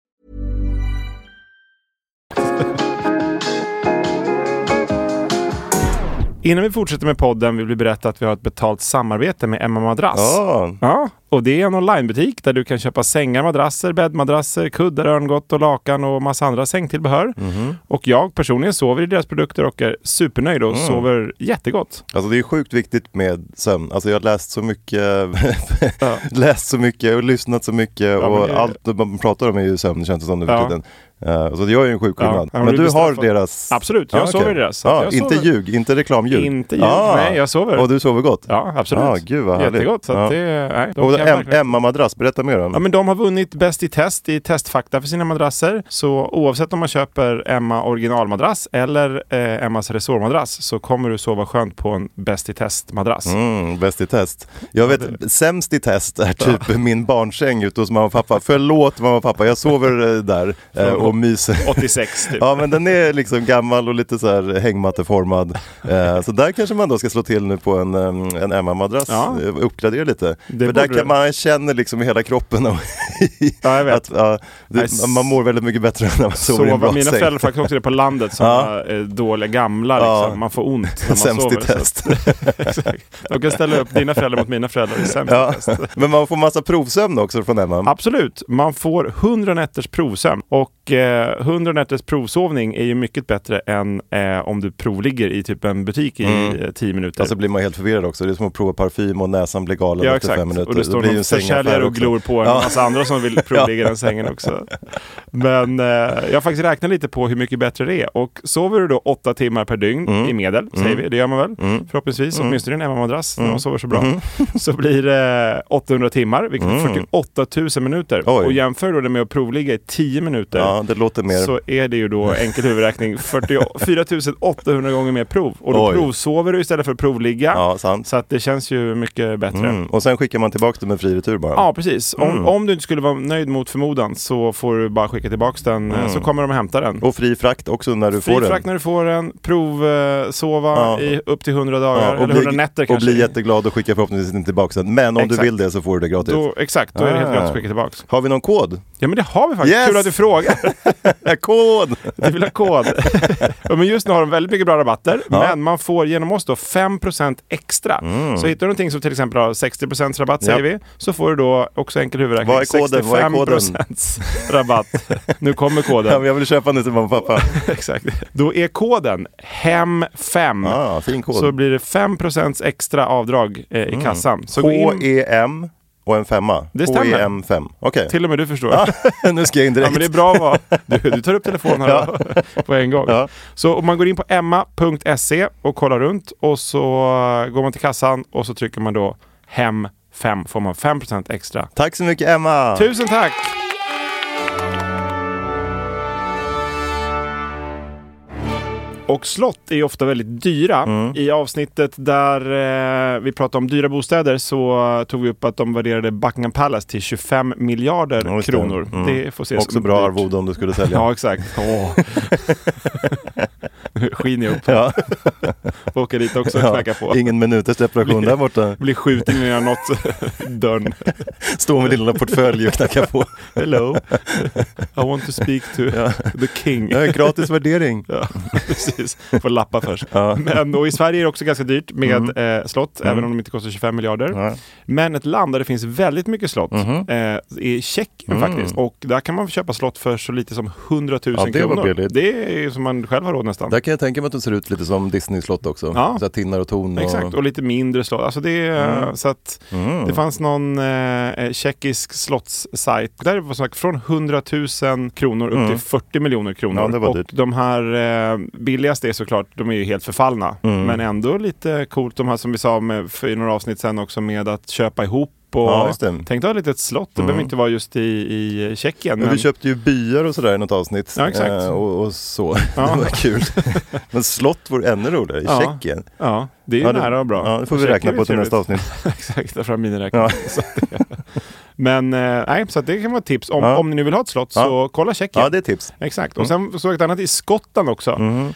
S3: Innan vi fortsätter med podden vill vi berätta att vi har ett betalt samarbete med Emma Madrass.
S2: Ja,
S3: Ja, Och det är en onlinebutik där du kan köpa sängar, madrasser, bäddmadrasser, kuddar, örngott och lakan och massa andra sängtillbehör.
S2: Mhm.
S3: Och jag personligen sover i deras produkter och är supernöjd
S2: Mm.
S3: och sover jättegott.
S2: Alltså det är sjukt viktigt med sömn. Alltså jag har läst så
S3: (laughs)
S2: mycket, (laughs) läst så mycket och lyssnat så mycket
S3: men
S2: och
S3: det-
S2: allt man pratar om är ju sömn känns det som nu för
S3: Ja.
S2: tiden. Eh, så det gör ju en sjuk skillnad.
S3: Ja, men
S2: men
S3: du
S2: du har
S3: bestraffar-
S2: deras...
S3: Absolut, jag sover i deras. Så
S2: Ja,
S3: jag
S2: inte
S3: sover-
S2: ljug, inte reklamljug.
S3: Inte ljug, nej, jag sover.
S2: Och du sover gott?
S3: Ja, absolut.
S2: Ja, gud vad härligt.
S3: Jättegott. Så att
S2: Ja.
S3: det, nej, de
S2: Och
S3: kan
S2: em-
S3: verkligen-
S2: Emma-madrass, berätta mer om.
S3: Ja, men de har vunnit Bäst i test i testfakta för sina madrasser. Så oavsett om man köper Emma originalmadrass eller eh, Emmas resårmadrass så kommer du sova skönt på en Bäst i test-madrass.
S2: Mm, bäst i test. Jag vet, sämst i test är typ min barnsäng ute hos mamma och pappa. Förlåt mamma och pappa, jag sover eh, där eh, och myser.
S3: 86 typ.
S2: (laughs) Ja men den är liksom gammal och lite så här hängmatteformad. Eh, så där kanske man då ska slå till nu på en, em, en Emma-madrass,
S3: Ja.
S2: eh, uppgradera lite.
S3: Det
S2: För där
S3: borde du.
S2: kan man känner liksom i hela kroppen och
S3: Ja, jag vet.
S2: att ja,
S3: Nej,
S2: det,
S3: s-
S2: man mår väldigt mycket bättre när man sover i en
S3: Sova.
S2: bra
S3: Mina
S2: säng. (laughs)
S3: föräldrar faktiskt också det på landet som
S2: Ja.
S3: var, eh, dåliga gamla. Liksom.
S2: Ja.
S3: Man får ont när man
S2: Sämst
S3: sover.
S2: i
S3: så att-
S2: test.
S3: (laughs)
S2: (laughs)
S3: Exakt. De kan ställa upp dina föräldrar mot mina föräldrar i sämst i
S2: Ja.
S3: test.
S2: Men man får massa provsömn också från Emma.
S3: Absolut, man får 100 nätters provsömn och eh, 100 nätters provsovning är ju mycket bättre än eh, om du provligger i typ en butik i eh, 10 minuter.
S2: Alltså blir man helt förvirrad också. Det är som att prova parfym och näsan blir galen
S3: ja
S2: efter
S3: exakt,
S2: fem minuter.
S3: och det står
S2: blir ju
S3: någon
S2: en sängaffär
S3: försäljare och
S2: också.
S3: glor på en
S2: Ja.
S3: massa andra
S2: (laughs)
S3: som vill provligga den sängen också. Men eh, jag har faktiskt räknat lite på hur mycket bättre det är och sover du då 8 timmar per dygn
S2: Mm.
S3: i medel, säger vi, det gör man väl förhoppningsvis, åtminstone i en Emma-madrass
S2: Mm.
S3: när man sover så bra, (laughs) så blir det 800 timmar, vilket är 48 000 minuter.
S2: Mm. Oj.
S3: Och jämför då det med att provligga i 10 minuter
S2: Ja, det låter mer...
S3: så är det
S2: (laughs)
S3: ju då enkel huvudräkning 44 800 gånger mer prov. Och då
S2: Oj.
S3: provsover du istället för att provligga.
S2: Ja, sant.
S3: Så att det känns ju mycket bättre.
S2: Mm. Och sen skickar man tillbaka dem en fri retur bara.
S3: Ja, precis. Om,
S2: Mm.
S3: om du inte skulle vara nöjd mot förmodan så får du bara skicka tillbaka den eh, så kommer de och hämtar den.
S2: Mm. Och fri frakt också när du
S3: Fri
S2: får
S3: frakt
S2: den.
S3: när du får den, provsova
S2: Ja.
S3: i upp till 100 dagar,
S2: Ja, och,
S3: eller 100 nätter
S2: och
S3: kanske.
S2: bli jätteglad och skicka förhoppningsvis inte tillbaka den. Men om
S3: Exakt.
S2: du vill det så får du det gratis.
S3: då, exakt, då är det helt
S2: Ah.
S3: gratis att skicka tillbaka.
S2: Har vi någon kod?
S3: Ja men det har vi faktiskt,
S2: Yes!
S3: kul att du frågar. (laughs)
S2: kod!
S3: Vi vill
S2: (laughs)
S3: ha kod. ja, men just nu har de väldigt mycket bra rabatter,
S2: Ja. Mm.
S3: men man får genom oss då 5% extra. Så hittar du någonting som till exempel har 60% rabatt säger
S2: Ja.
S3: vi, så får du då också enkel huvudräkning
S2: Vad är koden? Vad är koden?
S3: 65% rabatt. nu kommer koden.
S2: Ja, men jag vill köpa den till mamma och pappa.
S3: (laughs) Exakt. Då är koden HEM5.
S2: Ah, fin kod. Mm.
S3: Så blir det 5% extra avdrag eh, i kassan. E. Så gå in,
S2: H-E-M E och en femma.
S3: Det stämmer.
S2: H-E-M 5. Okej.
S3: till och med du förstår.
S2: (laughs) nu ska jag in
S3: (laughs) Ja,
S2: direkt.
S3: men det är bra att vara... Du, du tar upp telefonen här på en gång.
S2: Ja.
S3: Så om man går in på emma.se och kollar runt och så går man till kassan och så trycker man då hem 5 får man 5% extra.
S2: Tack så mycket Emma!
S3: Tusen tack! Och slott är ju ofta väldigt dyra.
S2: Mm.
S3: I avsnittet där eh, vi pratade om dyra bostäder så eh, tog vi upp att de värderade Buckingham Palace till 25 miljarder
S2: Ja, just det.
S3: kronor.
S2: Mm.
S3: Det får ses
S2: Också
S3: som
S2: bra
S3: dyrt.
S2: arvode om du skulle sälja.
S3: Ja, exakt. Nu (laughs) skiner jag upp.
S2: Ja.
S3: Får åka dit också och
S2: Ja,
S3: knacka på.
S2: Ingen minuters separation där borta.
S3: Blir skjuten innan jag nått (laughs) dörren.
S2: Står med din lilla portfölj och knackar
S3: (laughs)
S2: på.
S3: Hello, I want to speak to the king.
S2: Jag har gratis värdering.
S3: (laughs) Ja, precis. Får lappa först. Men, och I Sverige är det också ganska dyrt med
S2: Mm.
S3: eh, slott, även om de inte kostar 25 miljarder. Men ett land där det finns väldigt mycket slott
S2: Mhm.
S3: eh, är Tjeckien faktiskt. Och där kan man köpa slott för så lite som 100 000
S2: Mm. Ja, det var
S3: kronor.
S2: billigt.
S3: Det är ju som man själv har råd nästan.
S2: Där kan jag tänka mig att de ser ut lite som Disney-slott också.
S3: Ja.
S2: Så här tinnar och torn. Och... Mm.
S3: Exakt, och lite mindre slott. Alltså det, är, så att det fanns någon eh, tjeckisk slottssajt. Där var sagt från 100 000 kronor upp till 40 miljoner kronor.
S2: Mm. Ja, det var
S3: och
S2: dyrt.
S3: de här eh, billigaste är såklart, de är ju helt förfallna.
S2: Mm.
S3: Men ändå lite coolt, de här som vi sa med, för, i några avsnitt sen också med att köpa ihop. Och
S2: Ja, just det. Mm.
S3: Tänk dig ha ett litet slott, det behöver inte vara just i, i Tjeckien.
S2: Men vi köpte ju byar och sådär i något avsnitt.
S3: Ja, exakt.
S2: Eh, och, och
S3: (laughs)
S2: så.
S3: Ja.
S2: det var kul. Men slott vore ännu roligare i
S3: Ja.
S2: Tjeckien.
S3: ja, det är ju
S2: Ja, det-
S3: nära och bra.
S2: Ja, det får vi
S3: Tjeckien
S2: räkna
S3: är
S2: på till
S3: trevligt.
S2: nästa avsnitt.
S3: (laughs) Exakt, ta fram miniräknaren.
S2: Ja.
S3: Så att det- (laughs) Men eh, nej, så att det kan vara ett tips. Om,
S2: Ja.
S3: om ni nu vill ha ett slott så
S2: Ja.
S3: kolla Tjeckien.
S2: Ja, det är tips. Mm. Mm-hmm.
S3: Exakt. Och sen såg jag ett annat i Skottland också.
S2: Mm-hmm.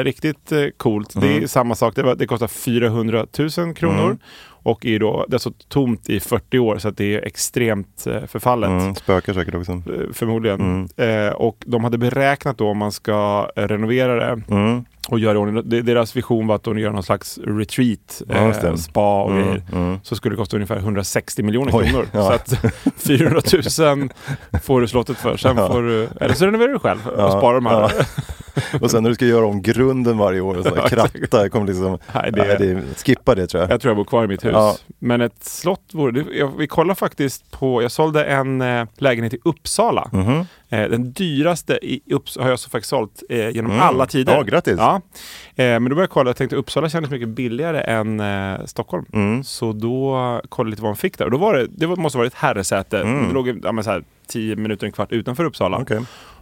S3: Eh, riktigt eh, coolt. Det är samma sak. Det, var, det kostar 400 000 kronor. och är ju då, det har stått tomt i 40 år så att det är extremt eh, förfallet.
S2: Mm, spökar säkert också.
S3: Eh, Förmodligen. Eh, och de hade beräknat då om man ska eh, renovera det
S2: Mm,
S3: och göra i ordning. De- Deras vision var att de gör någon slags retreat,
S2: Ja, just
S3: eh,
S2: det.
S3: spa och
S2: mm,
S3: grejer.
S2: mm.
S3: Så skulle det kosta ungefär 160 miljoner
S2: Oj,
S3: kronor.
S2: ja.
S3: Så att (laughs) 400 000 får du slottet för. Sen
S2: Ja.
S3: får du, eller så renoverar du själv och
S2: Ja,
S3: sparar de här.
S2: ja. Och sen när du ska göra om grunden varje år och
S3: (laughs) Ja,
S2: sådär,
S3: exakt.
S2: kratta, jag kommer liksom,
S3: Nej, det,
S2: nej, det är, skippa det tror jag.
S3: Jag tror jag bor kvar i mitt hus.
S2: Ja.
S3: Men ett slott vore... det- Jag, vi kollar faktiskt på... Jag sålde en eh, lägenhet i Uppsala.
S2: Mhm.
S3: Eh, den dyraste i Uppsala har jag så faktiskt sålt eh, genom
S2: Mm.
S3: alla tider.
S2: Ja, grattis.
S3: Ja. Eh, men då började jag kolla. Jag tänkte Uppsala kändes mycket billigare än eh, Stockholm.
S2: Mm.
S3: Så då kollade jag lite vad man fick där. Och då var det, det var- måste ha varit ett herresäte.
S2: Mm.
S3: Det låg i- ja, men så här, tio minuter, en kvart utanför Uppsala.
S2: Okej.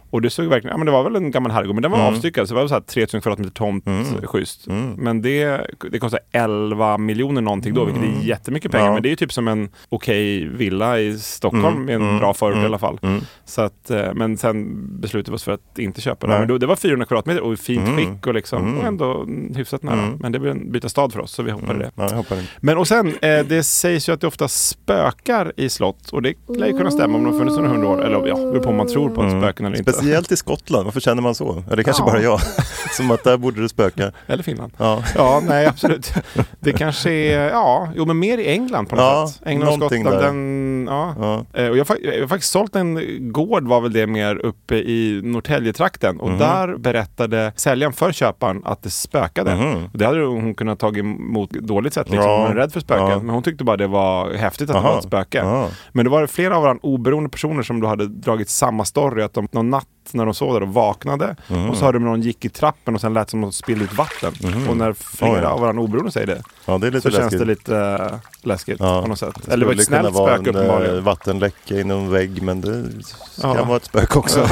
S3: Och det såg verkligen, ja men det var väl en gammal herrgård, men den var
S2: Mm.
S3: avstyckad. Så det var så här 3000 kvadratmeter tomt,
S2: Mm.
S3: schysst.
S2: Mm.
S3: Men det, det kostar 11 miljoner någonting då, vilket är jättemycket pengar.
S2: Mm. Ja.
S3: Men det är ju typ som en okej villa i Stockholm
S2: Mm,
S3: i en
S2: mm,
S3: bra förort i
S2: mm,
S3: alla fall.
S2: Mm.
S3: Så att, eh, men sen beslutade vi oss för att inte köpa det.
S2: Nej.
S3: Men då, det var 400 kvadratmeter och i fint
S2: Mm.
S3: skick och, liksom,
S2: Mm.
S3: och ändå mm, hyfsat nära.
S2: Mm.
S3: Men det blev en byta stad för oss, så vi hoppade det.
S2: Ja, jag hoppar in.
S3: Men och sen, eh, det sägs ju att det ofta spökar i slott och det lär ju kunna stämma om de har funnits under hundra år. Eller ja, det beror på om man tror på
S2: Mm.
S3: mm. spöken eller inte.
S2: Speciellt i Skottland, varför känner man så? Eller kanske
S3: Ja.
S2: bara jag, (laughs) som att där borde det spöka.
S3: Eller Finland.
S2: Ja.
S3: Ja, nej absolut. Det kanske är, ja, jo men mer i England på något
S2: Ja,
S3: sätt. England och
S2: någonting
S3: Skottland.
S2: där.
S3: Den, ja.
S2: Ja.
S3: Eh, Och jag, har fa- jag har faktiskt sålt en gård var väl det mer uppe i Norrtäljetrakten
S2: Mhm.
S3: och där berättade säljaren för köparen att det spökade.
S2: Mhm.
S3: Och Det hade hon kunnat ta emot dåligt sätt, liksom.
S2: Ja.
S3: hon var rädd för spöken.
S2: Ja.
S3: Men hon tyckte bara det var häftigt att det
S2: Aha.
S3: var ett spöke.
S2: Ja.
S3: Men det var det flera av varandra oberoende personer som då hade dragit samma story. Att de någon natt när de sov där och vaknade
S2: Mm.
S3: och så hörde de någon gick i trappen och sen lät som att de spillde ut vatten. Och när flera
S2: Oj.
S3: av varandra oberoende säger det
S2: ja, det är lite
S3: så känns
S2: läskigt.
S3: det lite eh, läskigt
S2: Ja.
S3: på något sätt. Eller det var ett
S2: skulle kunna
S3: snällt spöke
S2: vara en, eh,
S3: (laughs) uppenbarligen.
S2: vattenläcka i någon vägg, men det kan
S3: Ja.
S2: vara ett spöke också.
S3: Ja.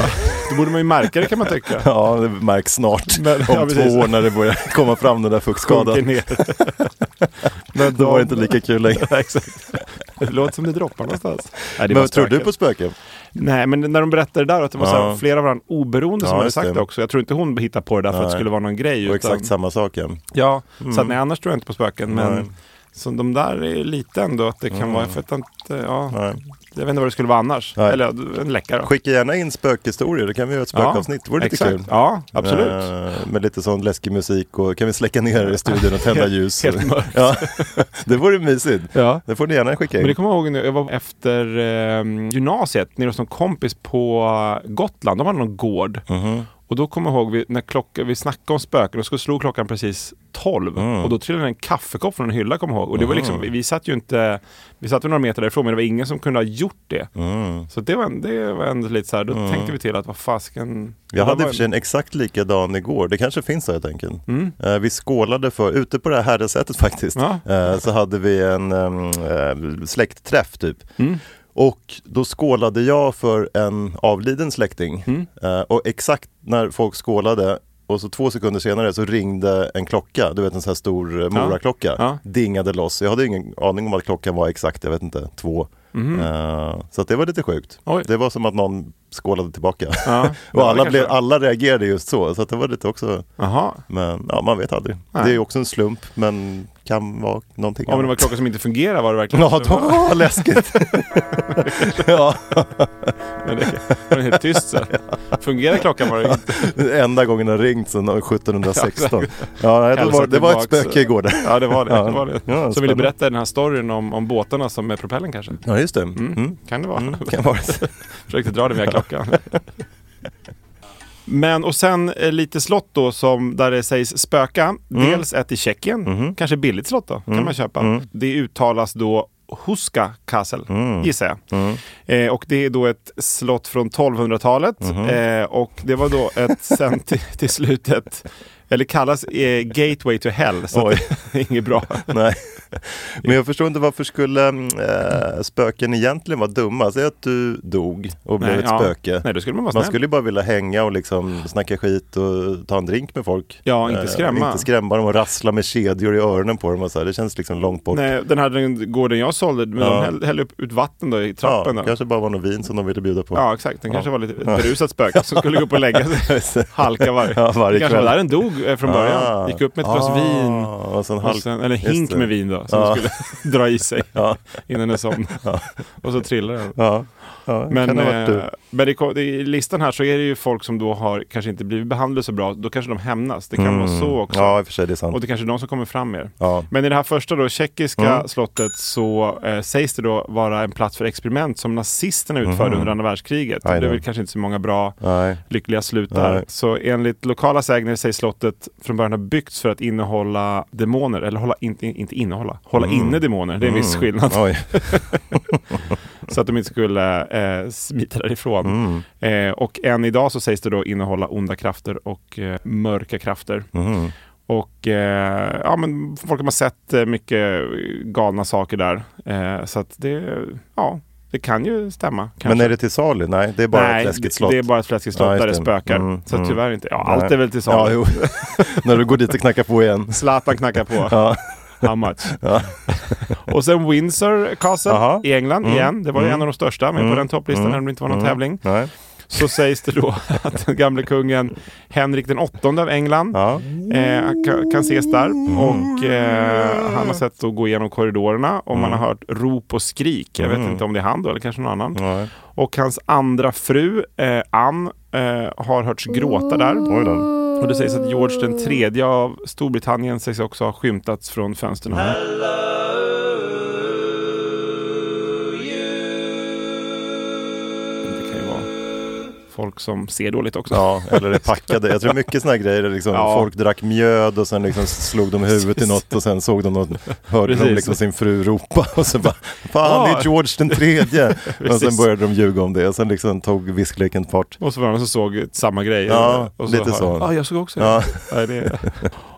S3: Då borde man ju märka det kan man tycka.
S2: (laughs) Ja, det märks snart.
S3: Men-
S2: Om
S3: ja, precis.
S2: två år när det börjar komma fram den där
S3: Sjunker
S2: fuktskadan.
S3: ner.
S2: Men då var det inte lika kul
S3: (laughs)
S2: längre.
S3: Det låter som det
S2: (laughs)
S3: droppar någonstans. Nej, det var
S2: Men tror du
S3: spöket.
S2: på spöken?
S3: Nej, men när de berättade det där att det var
S2: Ja.
S3: så här, flera av varandra oberoende som
S2: Ja,
S3: hade
S2: just
S3: sagt
S2: det.
S3: det. också. Jag tror inte hon hittade på det där för att det
S2: Nej.
S3: skulle vara någon grej.
S2: Och exakt samma sak ja.
S3: Ja, så att, nej, annars tror jag inte på spöken.
S2: Mm. Nej. Mm.
S3: Men så de där är lite ändå att det kan vara, jag vet inte, ja,
S2: Nej.
S3: jag vet inte vad det skulle vara annars.
S2: Nej.
S3: Eller ja, en läckare.
S2: Skicka gärna in spökhistorier, då kan vi göra ett spökavsnitt. Det vore lite
S3: exakt.
S2: kul.
S3: Ja, absolut.
S2: Eh, Med lite sån läskig musik och kan vi släcka ner i studion och tända ljus.
S3: (laughs) Helt mörkt.
S2: ja. (laughs) Det vore mysigt.
S3: Ja.
S2: Det får ni gärna skicka
S3: Men det
S2: in.
S3: kommer jag ihåg när jag var efter eh, gymnasiet nere hos någon kompis på Gotland. De hade någon gård.
S2: Mhm.
S3: Och då kommer jag ihåg vi, när klocka, vi snackade om spöken och så slog klockan precis 12.
S2: Mm.
S3: Och då trillade en kaffekopp från en hylla kommer jag ihåg. Och det var liksom, vi, vi satt ju inte, vi satt väl några meter därifrån men det var ingen som kunde ha gjort det.
S2: Mm.
S3: Så det var, en- det var ändå lite så här, då tänkte vi till att vad fasken. det
S2: Jag hade i
S3: var
S2: och för sig en exakt likadan igår, det kanske finns så helt enkelt.
S3: Mm.
S2: Eh, vi skålade för, ute på det här herresätet faktiskt,
S3: Ja.
S2: eh, så hade vi en em, eh, släktträff typ.
S3: Mm.
S2: Och då skålade jag för en avliden släkting.
S3: Mm.
S2: Eh, och exakt när folk skålade och så två sekunder senare så ringde en klocka, du vet en sån här stor eh,
S3: Ja.
S2: moraklocka,
S3: Ja.
S2: dingade loss. Jag hade ingen aning om att klockan var exakt, jag vet inte, två. Eh, så att det var lite sjukt.
S3: Mhm. Oj.
S2: Det var som att någon skålade tillbaka. (laughs)
S3: Ja,
S2: Och
S3: Ja, det
S2: alla,
S3: kanske
S2: blev,
S3: var.
S2: alla reagerade just så, så att det var lite också,
S3: Jaha.
S2: men ja, man vet aldrig.
S3: Nej.
S2: Det är ju också en slump, men kan vara någonting
S3: Ja men det var
S2: annat.
S3: klockan som inte fungerade var det verkligen.
S2: (laughs) Ja, då
S3: (laughs)
S2: var läskigt. ja, (laughs)
S3: Men det var helt tyst så. här. Fungerade klockan var det inte.
S2: enda gången den ringt sedan 1716. Ja, nej, det, var, det var ett
S3: Tillbaks.
S2: spöke igår där.
S3: Ja, det var det. det, var det.
S2: Ja,
S3: som
S2: spännande.
S3: ville berätta den här storyn om, om båtarna som med propellen kanske.
S2: Ja, just det. Mm.
S3: Kan det vara?
S2: Kan
S3: (laughs)
S2: vara det.
S3: Försökte dra den via klockan. (laughs) Men och sen eh, lite slott då som där det sägs spöka.
S2: Mm.
S3: Dels ett i Tjeckien, kanske billigt slott då, kan man köpa. Det uttalas då Huska Castle,
S2: Mm.
S3: gissar jag. Eh, och det är då ett slott från 1200-talet.
S2: Mm-hmm.
S3: Eh, och det var då
S2: (laughs)
S3: ett sen till, till slutet, eller kallas eh, Gateway to Hell. Så att
S2: Oj.
S3: det är
S2: (laughs)
S3: inget bra.
S2: Nej, men jag förstår inte varför skulle äh, spöken egentligen vara dumma? Säg att du dog och blev
S3: Nej,
S2: ett
S3: ja.
S2: spöke.
S3: Nej, då skulle man vara
S2: Man
S3: snäll.
S2: skulle ju bara vilja hänga och liksom snacka skit och ta en drink med folk.
S3: Ja, inte
S2: Eh,
S3: skrämma.
S2: inte skrämma dem och rassla med kedjor i öronen på dem och så här. Det känns liksom långt bort.
S3: Nej, den här den gården jag sålde, men
S2: Ja.
S3: de häll- hällde upp ut vatten då i
S2: ja,
S3: trappen. då.
S2: kanske bara var något vin som de ville bjuda på. (laughs)
S3: Ja, exakt. Den kanske var lite ett berusat spöke som skulle gå upp och lägga sig. Halka varje,
S2: Ja, varje
S3: Det kanske
S2: kväll.
S3: var där den dog eh, från början.
S2: Ah.
S3: Gick upp med ett glas
S2: Ah,
S3: vin.
S2: Och sen halk...
S3: Och sen, eller en
S2: Just
S3: hink
S2: det. Ah.
S3: med vin då. då som skulle (laughs) dra
S2: (laughs)
S3: i sig innan den somnade. Och så trillade den.
S2: Ja. Ja, men,
S3: Men,
S2: kan det ha varit
S3: eh,
S2: du?
S3: men det, kom- i listan här så är det ju folk som då har kanske inte blivit behandlade så bra. Då kanske de hämnas. Det kan vara så också.
S2: Mm. Ja, i och för sig, det är sant.
S3: Och det kanske är de som kommer fram mer.
S2: Ja.
S3: Men i det här första då, tjeckiska
S2: Mm.
S3: slottet så eh, sägs det då vara en plats för experiment som nazisterna utförde under andra världskriget.
S2: Aj
S3: Det blev
S2: då.
S3: väl kanske inte så många bra
S2: Mhm. Nej.
S3: lyckliga slut där.
S2: Nej.
S3: Så enligt lokala sägner sägs slottet från början ha byggts för att innehålla demoner, eller hålla in, in- inte innehålla, hålla
S2: Mm.
S3: inne demoner. Det är en viss skillnad. (laughs)
S2: Oj.
S3: Så att de inte skulle eh, smita därifrån.
S2: Mm.
S3: Eh, och än idag så sägs det då innehålla onda krafter och eh, mörka krafter.
S2: Mm.
S3: Och eh, ja, men folk har sett eh, mycket galna saker där. Eh, så att det, ja, det kan ju stämma.
S2: Men
S3: kanske.
S2: är det till salu? Nej, det är bara
S3: Nej,
S2: ett läskigt slott.
S3: Det är bara ett läskigt slott
S2: Ja, just
S3: där det
S2: det.
S3: spökar.
S2: Mm,
S3: så
S2: mm.
S3: tyvärr inte. Ja,
S2: Nej.
S3: allt är väl till
S2: Ja,
S3: salu.
S2: jo. (laughs) När du går dit och knackar på
S3: (laughs)
S2: igen.
S3: Zlatan knackar på.
S2: (laughs) Ja.
S3: How much?
S2: (laughs)
S3: (laughs) och sen Windsor Castle
S2: Jaha.
S3: i England
S2: Mm.
S3: igen. Det var ju
S2: Mm.
S3: en av de största, men på
S2: Mm.
S3: den topplistan
S2: Mm.
S3: när det inte var någon
S2: Mm.
S3: tävling.
S2: Nej.
S3: Så sägs det då (laughs) att den gamle kungen Henrik den åttonde av England
S2: Ja.
S3: eh, kan, kan ses där. Och eh, han har sett att gå igenom korridorerna och
S2: Mm.
S3: man har hört rop och skrik. Jag vet inte om det är han då eller kanske någon annan.
S2: Nej.
S3: Och hans andra fru, eh, Ann, eh, har hörts gråta där.
S2: Oj då.
S3: Och det sägs att George den tredje av Storbritannien sägs också ha skymtats från fönstren här. Det kan ju vara folk som ser dåligt också.
S2: Ja, eller det packade. Jag tror mycket sådana grejer. är Liksom,
S3: Ja.
S2: Folk drack mjöd och sen liksom slog de huvudet i något och sen såg de något, hörde de
S3: Precis.
S2: liksom sin fru ropa (laughs) och sen bara Fan, det
S3: Ja.
S2: är George den
S3: (laughs)
S2: tredje! och sen
S3: Precis.
S2: började de ljuga om det och sen liksom tog viskleken fart.
S3: Och så var det någon som såg samma grej.
S2: Ja,
S3: och
S2: lite
S3: hör-
S2: så.
S3: Ja, jag såg också
S2: Ja.
S3: det. Nej, det.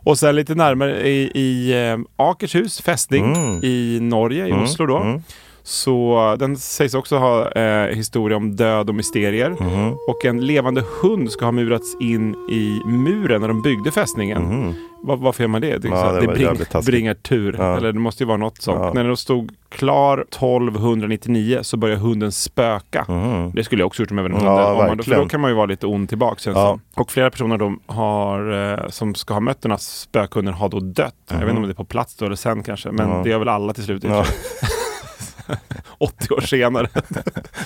S3: Och sen lite närmare i, i eh, Akershus fästning
S2: Mm.
S3: i Norge, i Oslo då. Så eh, den sägs också ha eh, historia om död och mysterier.
S2: Mm.
S3: Och en levande hund ska ha murats in i muren när de byggde fästningen. Va- varför gör man det? Det, är
S2: Mm. Ja,
S3: så att
S2: det
S3: det
S2: var jävligt
S3: bring,
S2: taskigt.
S3: bringar tur.
S2: Ja.
S3: Eller det måste ju vara något sånt.
S2: Ja.
S3: När den stod klar 1299 så började hunden spöka. Det skulle jag också gjort om jag var en hund.
S2: Ja,
S3: om man, för
S2: verkligen.
S3: då kan man ju vara lite ond tillbaka känns
S2: Ja.
S3: som. Och flera personer de har, eh, som ska ha mött den här spökhunden har då dött. Jag vet inte om det är på plats då eller sen kanske. Men det gör väl alla till slut. i och för sig. (laughs) 80 år senare
S2: (laughs)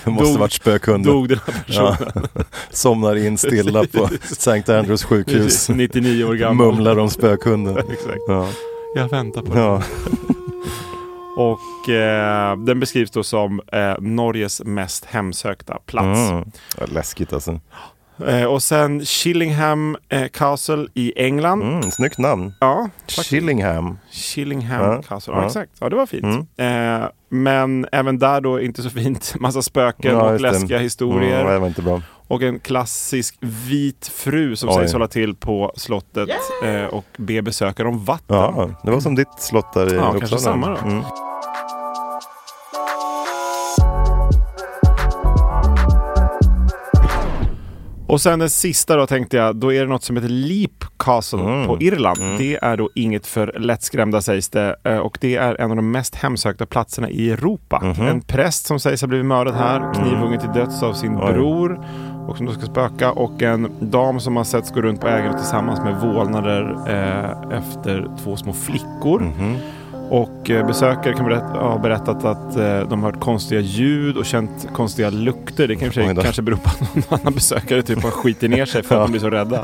S2: Det måste
S3: Dog-
S2: varit spökhunden.
S3: dog den här personen.
S2: Somnar in stilla på St. Andrews
S3: (laughs)
S2: sjukhus.
S3: 99 år gammal.
S2: Mumlar om spökhunden.
S3: (laughs) Exakt.
S2: Ja.
S3: Jag väntar på det.
S2: Ja.
S3: Och eh, den beskrivs då som eh, Norges mest hemsökta plats.
S2: Mm. Ja, Läskigt alltså.
S3: Eh, och sen Chillingham eh, Castle i England.
S2: Mm, snyggt namn.
S3: Ja,
S2: Chillingham.
S3: Chillingham
S2: Ja,
S3: Castle. Ja,
S2: ja. Mm.
S3: exakt. Ja, det var fint. Eh, men även där då inte så fint. (laughs) Massa spöken och
S2: just det.
S3: läskiga historier.
S2: Mm, det var inte bra.
S3: Och en klassisk vit fru som
S2: Oj.
S3: sägs hålla till på slottet eh, och be besökare om vatten.
S2: Ja, det var som ditt slott där i
S3: Ja,
S2: Uppsala.
S3: kanske samma då.
S2: Mm.
S3: Och sen den sista då tänkte jag, då är det något som heter Leap Castle på Irland. Det är då inget för lättskrämda sägs det eh, och det är en av de mest hemsökta platserna i Europa. En präst som sägs ha blivit mördad här, knivhuggen till döds av sin bror och som då ska spöka och en dam som har setts gå runt på ägaren tillsammans med vålnader eh, efter två små flickor.
S2: Mhm.
S3: Och eh, besökare kan berätta, har berättat att eh, de har hört konstiga ljud och känt konstiga lukter. Det kan i och för
S2: Oj
S3: sig
S2: då.
S3: kanske bero på att någon annan besökare typ har skitit ner sig för att de blir
S2: (laughs)
S3: så rädda.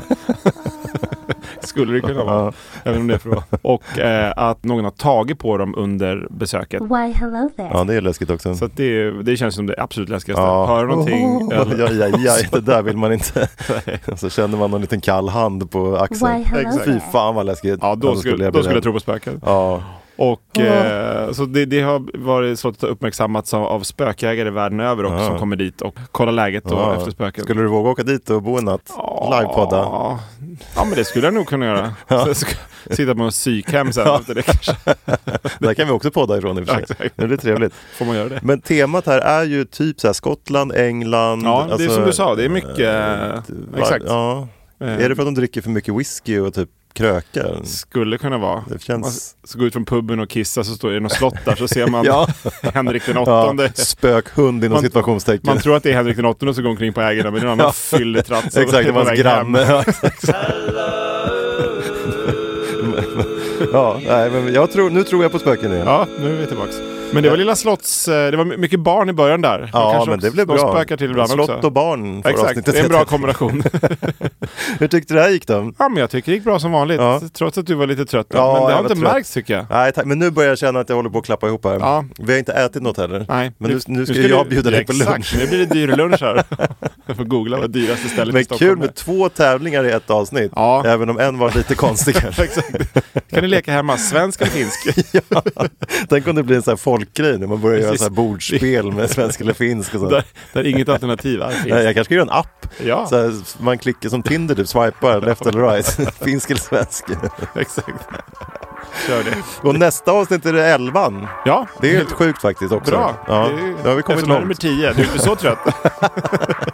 S3: Skulle det kunna vara. Även om det är för att- Och eh, att någon har tagit på dem under besöket.
S5: Why, hello there.
S2: Ja, det är läskigt också.
S3: Så att det, är- det känns som det absolut läskigaste.
S2: ja.
S3: Hör någonting.
S2: Oh,
S3: eller-
S2: ja, ja,
S3: (laughs)
S2: ja, det där vill man inte. så känner man någon liten kall hand på axeln.
S5: Why, hello
S2: Exakt. Fy
S5: there.
S2: fan vad läskigt.
S3: Ja, då,
S2: Alltså,
S3: skulle,
S2: bli
S3: då skulle jag
S2: rädd.
S3: tro på spöken.
S2: Ja,
S3: Och eh, så det, det har varit slottet har uppmärksammats av, av spökjägare världen över också som kommer dit och kollar läget då
S2: ja.
S3: efter spöken.
S2: Skulle du våga åka dit och bo en natt? Livepodda?
S3: Ja. ja, men det skulle jag nog
S2: (laughs)
S3: kunna göra. Så jag ska sitta på en psykhem sen efter det kanske.
S2: Där kan vi också podda ifrån i och för sig.
S3: Exakt.
S2: Det blir trevligt.
S3: Får man göra det?
S2: (laughs) Men temat här är ju typ så här Skottland, England.
S3: Ja, det är
S2: alltså,
S3: som du sa, det är mycket... eh,
S2: var-
S3: exakt. Eh.
S2: Ja. Är det för att de dricker för mycket whisky och typ krökar?
S3: Skulle kunna vara.
S2: Det känns-
S3: Man ska gå ut från puben och kissa så står det något slott där så
S2: (laughs)
S3: ser man (laughs) Henrik den åttonde.
S2: spökhund inom
S3: Man-
S2: situationstecken.
S3: Man tror att det är Henrik den åttonde som går omkring på ägarna men det
S2: (laughs)
S3: är någon annan fylletratt. (laughs) som
S2: Exakt, det
S3: är på
S2: var hans
S3: väg hem.
S2: granne. (laughs) Ja, nej, men jag tror, nu tror jag på spöken igen.
S3: Ja, nu är vi tillbaks. Men det var Lilla Slotts... eh, Det var my- mycket barn i början där.
S2: Ja,
S3: kanske
S2: men
S3: också-
S2: det blev
S3: de
S2: bra.
S3: spökar till ibland
S2: Slott
S3: också.
S2: och barn får
S3: Exakt,
S2: avsnittet
S3: det är en bra
S2: heta. (laughs)
S3: kombination.
S2: Hur tyckte du det här gick då?
S3: ja, men jag tycker det gick bra som vanligt.
S2: Ja.
S3: Trots att du var lite trött.
S2: Ja,
S3: men det
S2: jag
S3: har
S2: var
S3: inte
S2: trött.
S3: märkts tycker jag.
S2: Nej tack, men nu börjar jag känna att jag håller på att klappa ihop här.
S3: Ja.
S2: Vi har inte ätit något heller.
S3: Nej,
S2: Men nu, nu ska,
S3: skulle-
S2: jag bjuda dig på
S3: Exakt,
S2: lunch.
S3: nu blir det dyr
S2: (laughs)
S3: lunch här. Jag får googla vad dyraste stället i
S2: Men
S3: Stockholm
S2: kul med två tävlingar i ett avsnitt.
S3: Ja.
S2: Även om en var
S3: (laughs)
S2: lite konstig kanske.
S3: Exakt. Kan ni leka hemma, svensk eller finsk?
S2: (laughs) ja. Tänk om det blir en sån här folkgrej när man börjar göra
S3: Precis.
S2: så här bordspel med svensk eller finsk och sånt.
S3: Där, där inget alternativ är
S2: Nej,
S3: finsk.
S2: jag kanske ska göra en app.
S3: Ja.
S2: Så här, man klickar som Tinder, du
S3: (laughs)
S2: swipar left eller right. (laughs) Finsk eller svensk.
S3: (laughs) Exakt. Kör det.
S2: Och nästa avsnitt är det elvan.
S3: Ja,
S2: Det är helt sjukt faktiskt också.
S3: bra.
S2: Ja,
S3: Det är-
S2: då har vi kommit
S3: eftersom jag är nummer
S2: långt.
S3: 10. Du är inte så trött.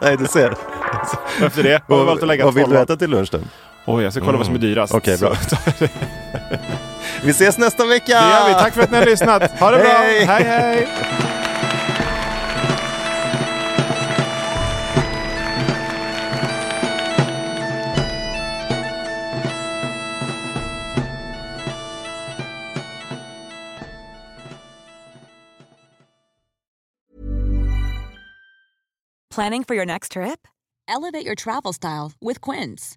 S2: Nej, du ser.
S3: Efter det har vi valt att lägga
S2: vad vill du
S3: tolvan.
S2: äta till lunch då?
S3: Oj, jag ska kolla vad som är dyrast.
S2: Okej,
S3: (laughs)
S2: bra.
S3: Så-
S2: Vi ses nästa vecka!
S3: Det gör vi. Tack för att ni har lyssnat. Ha det bra.
S2: Hej.
S3: hej! hej.
S5: Planning for your next trip? Elevate your travel style with Quince.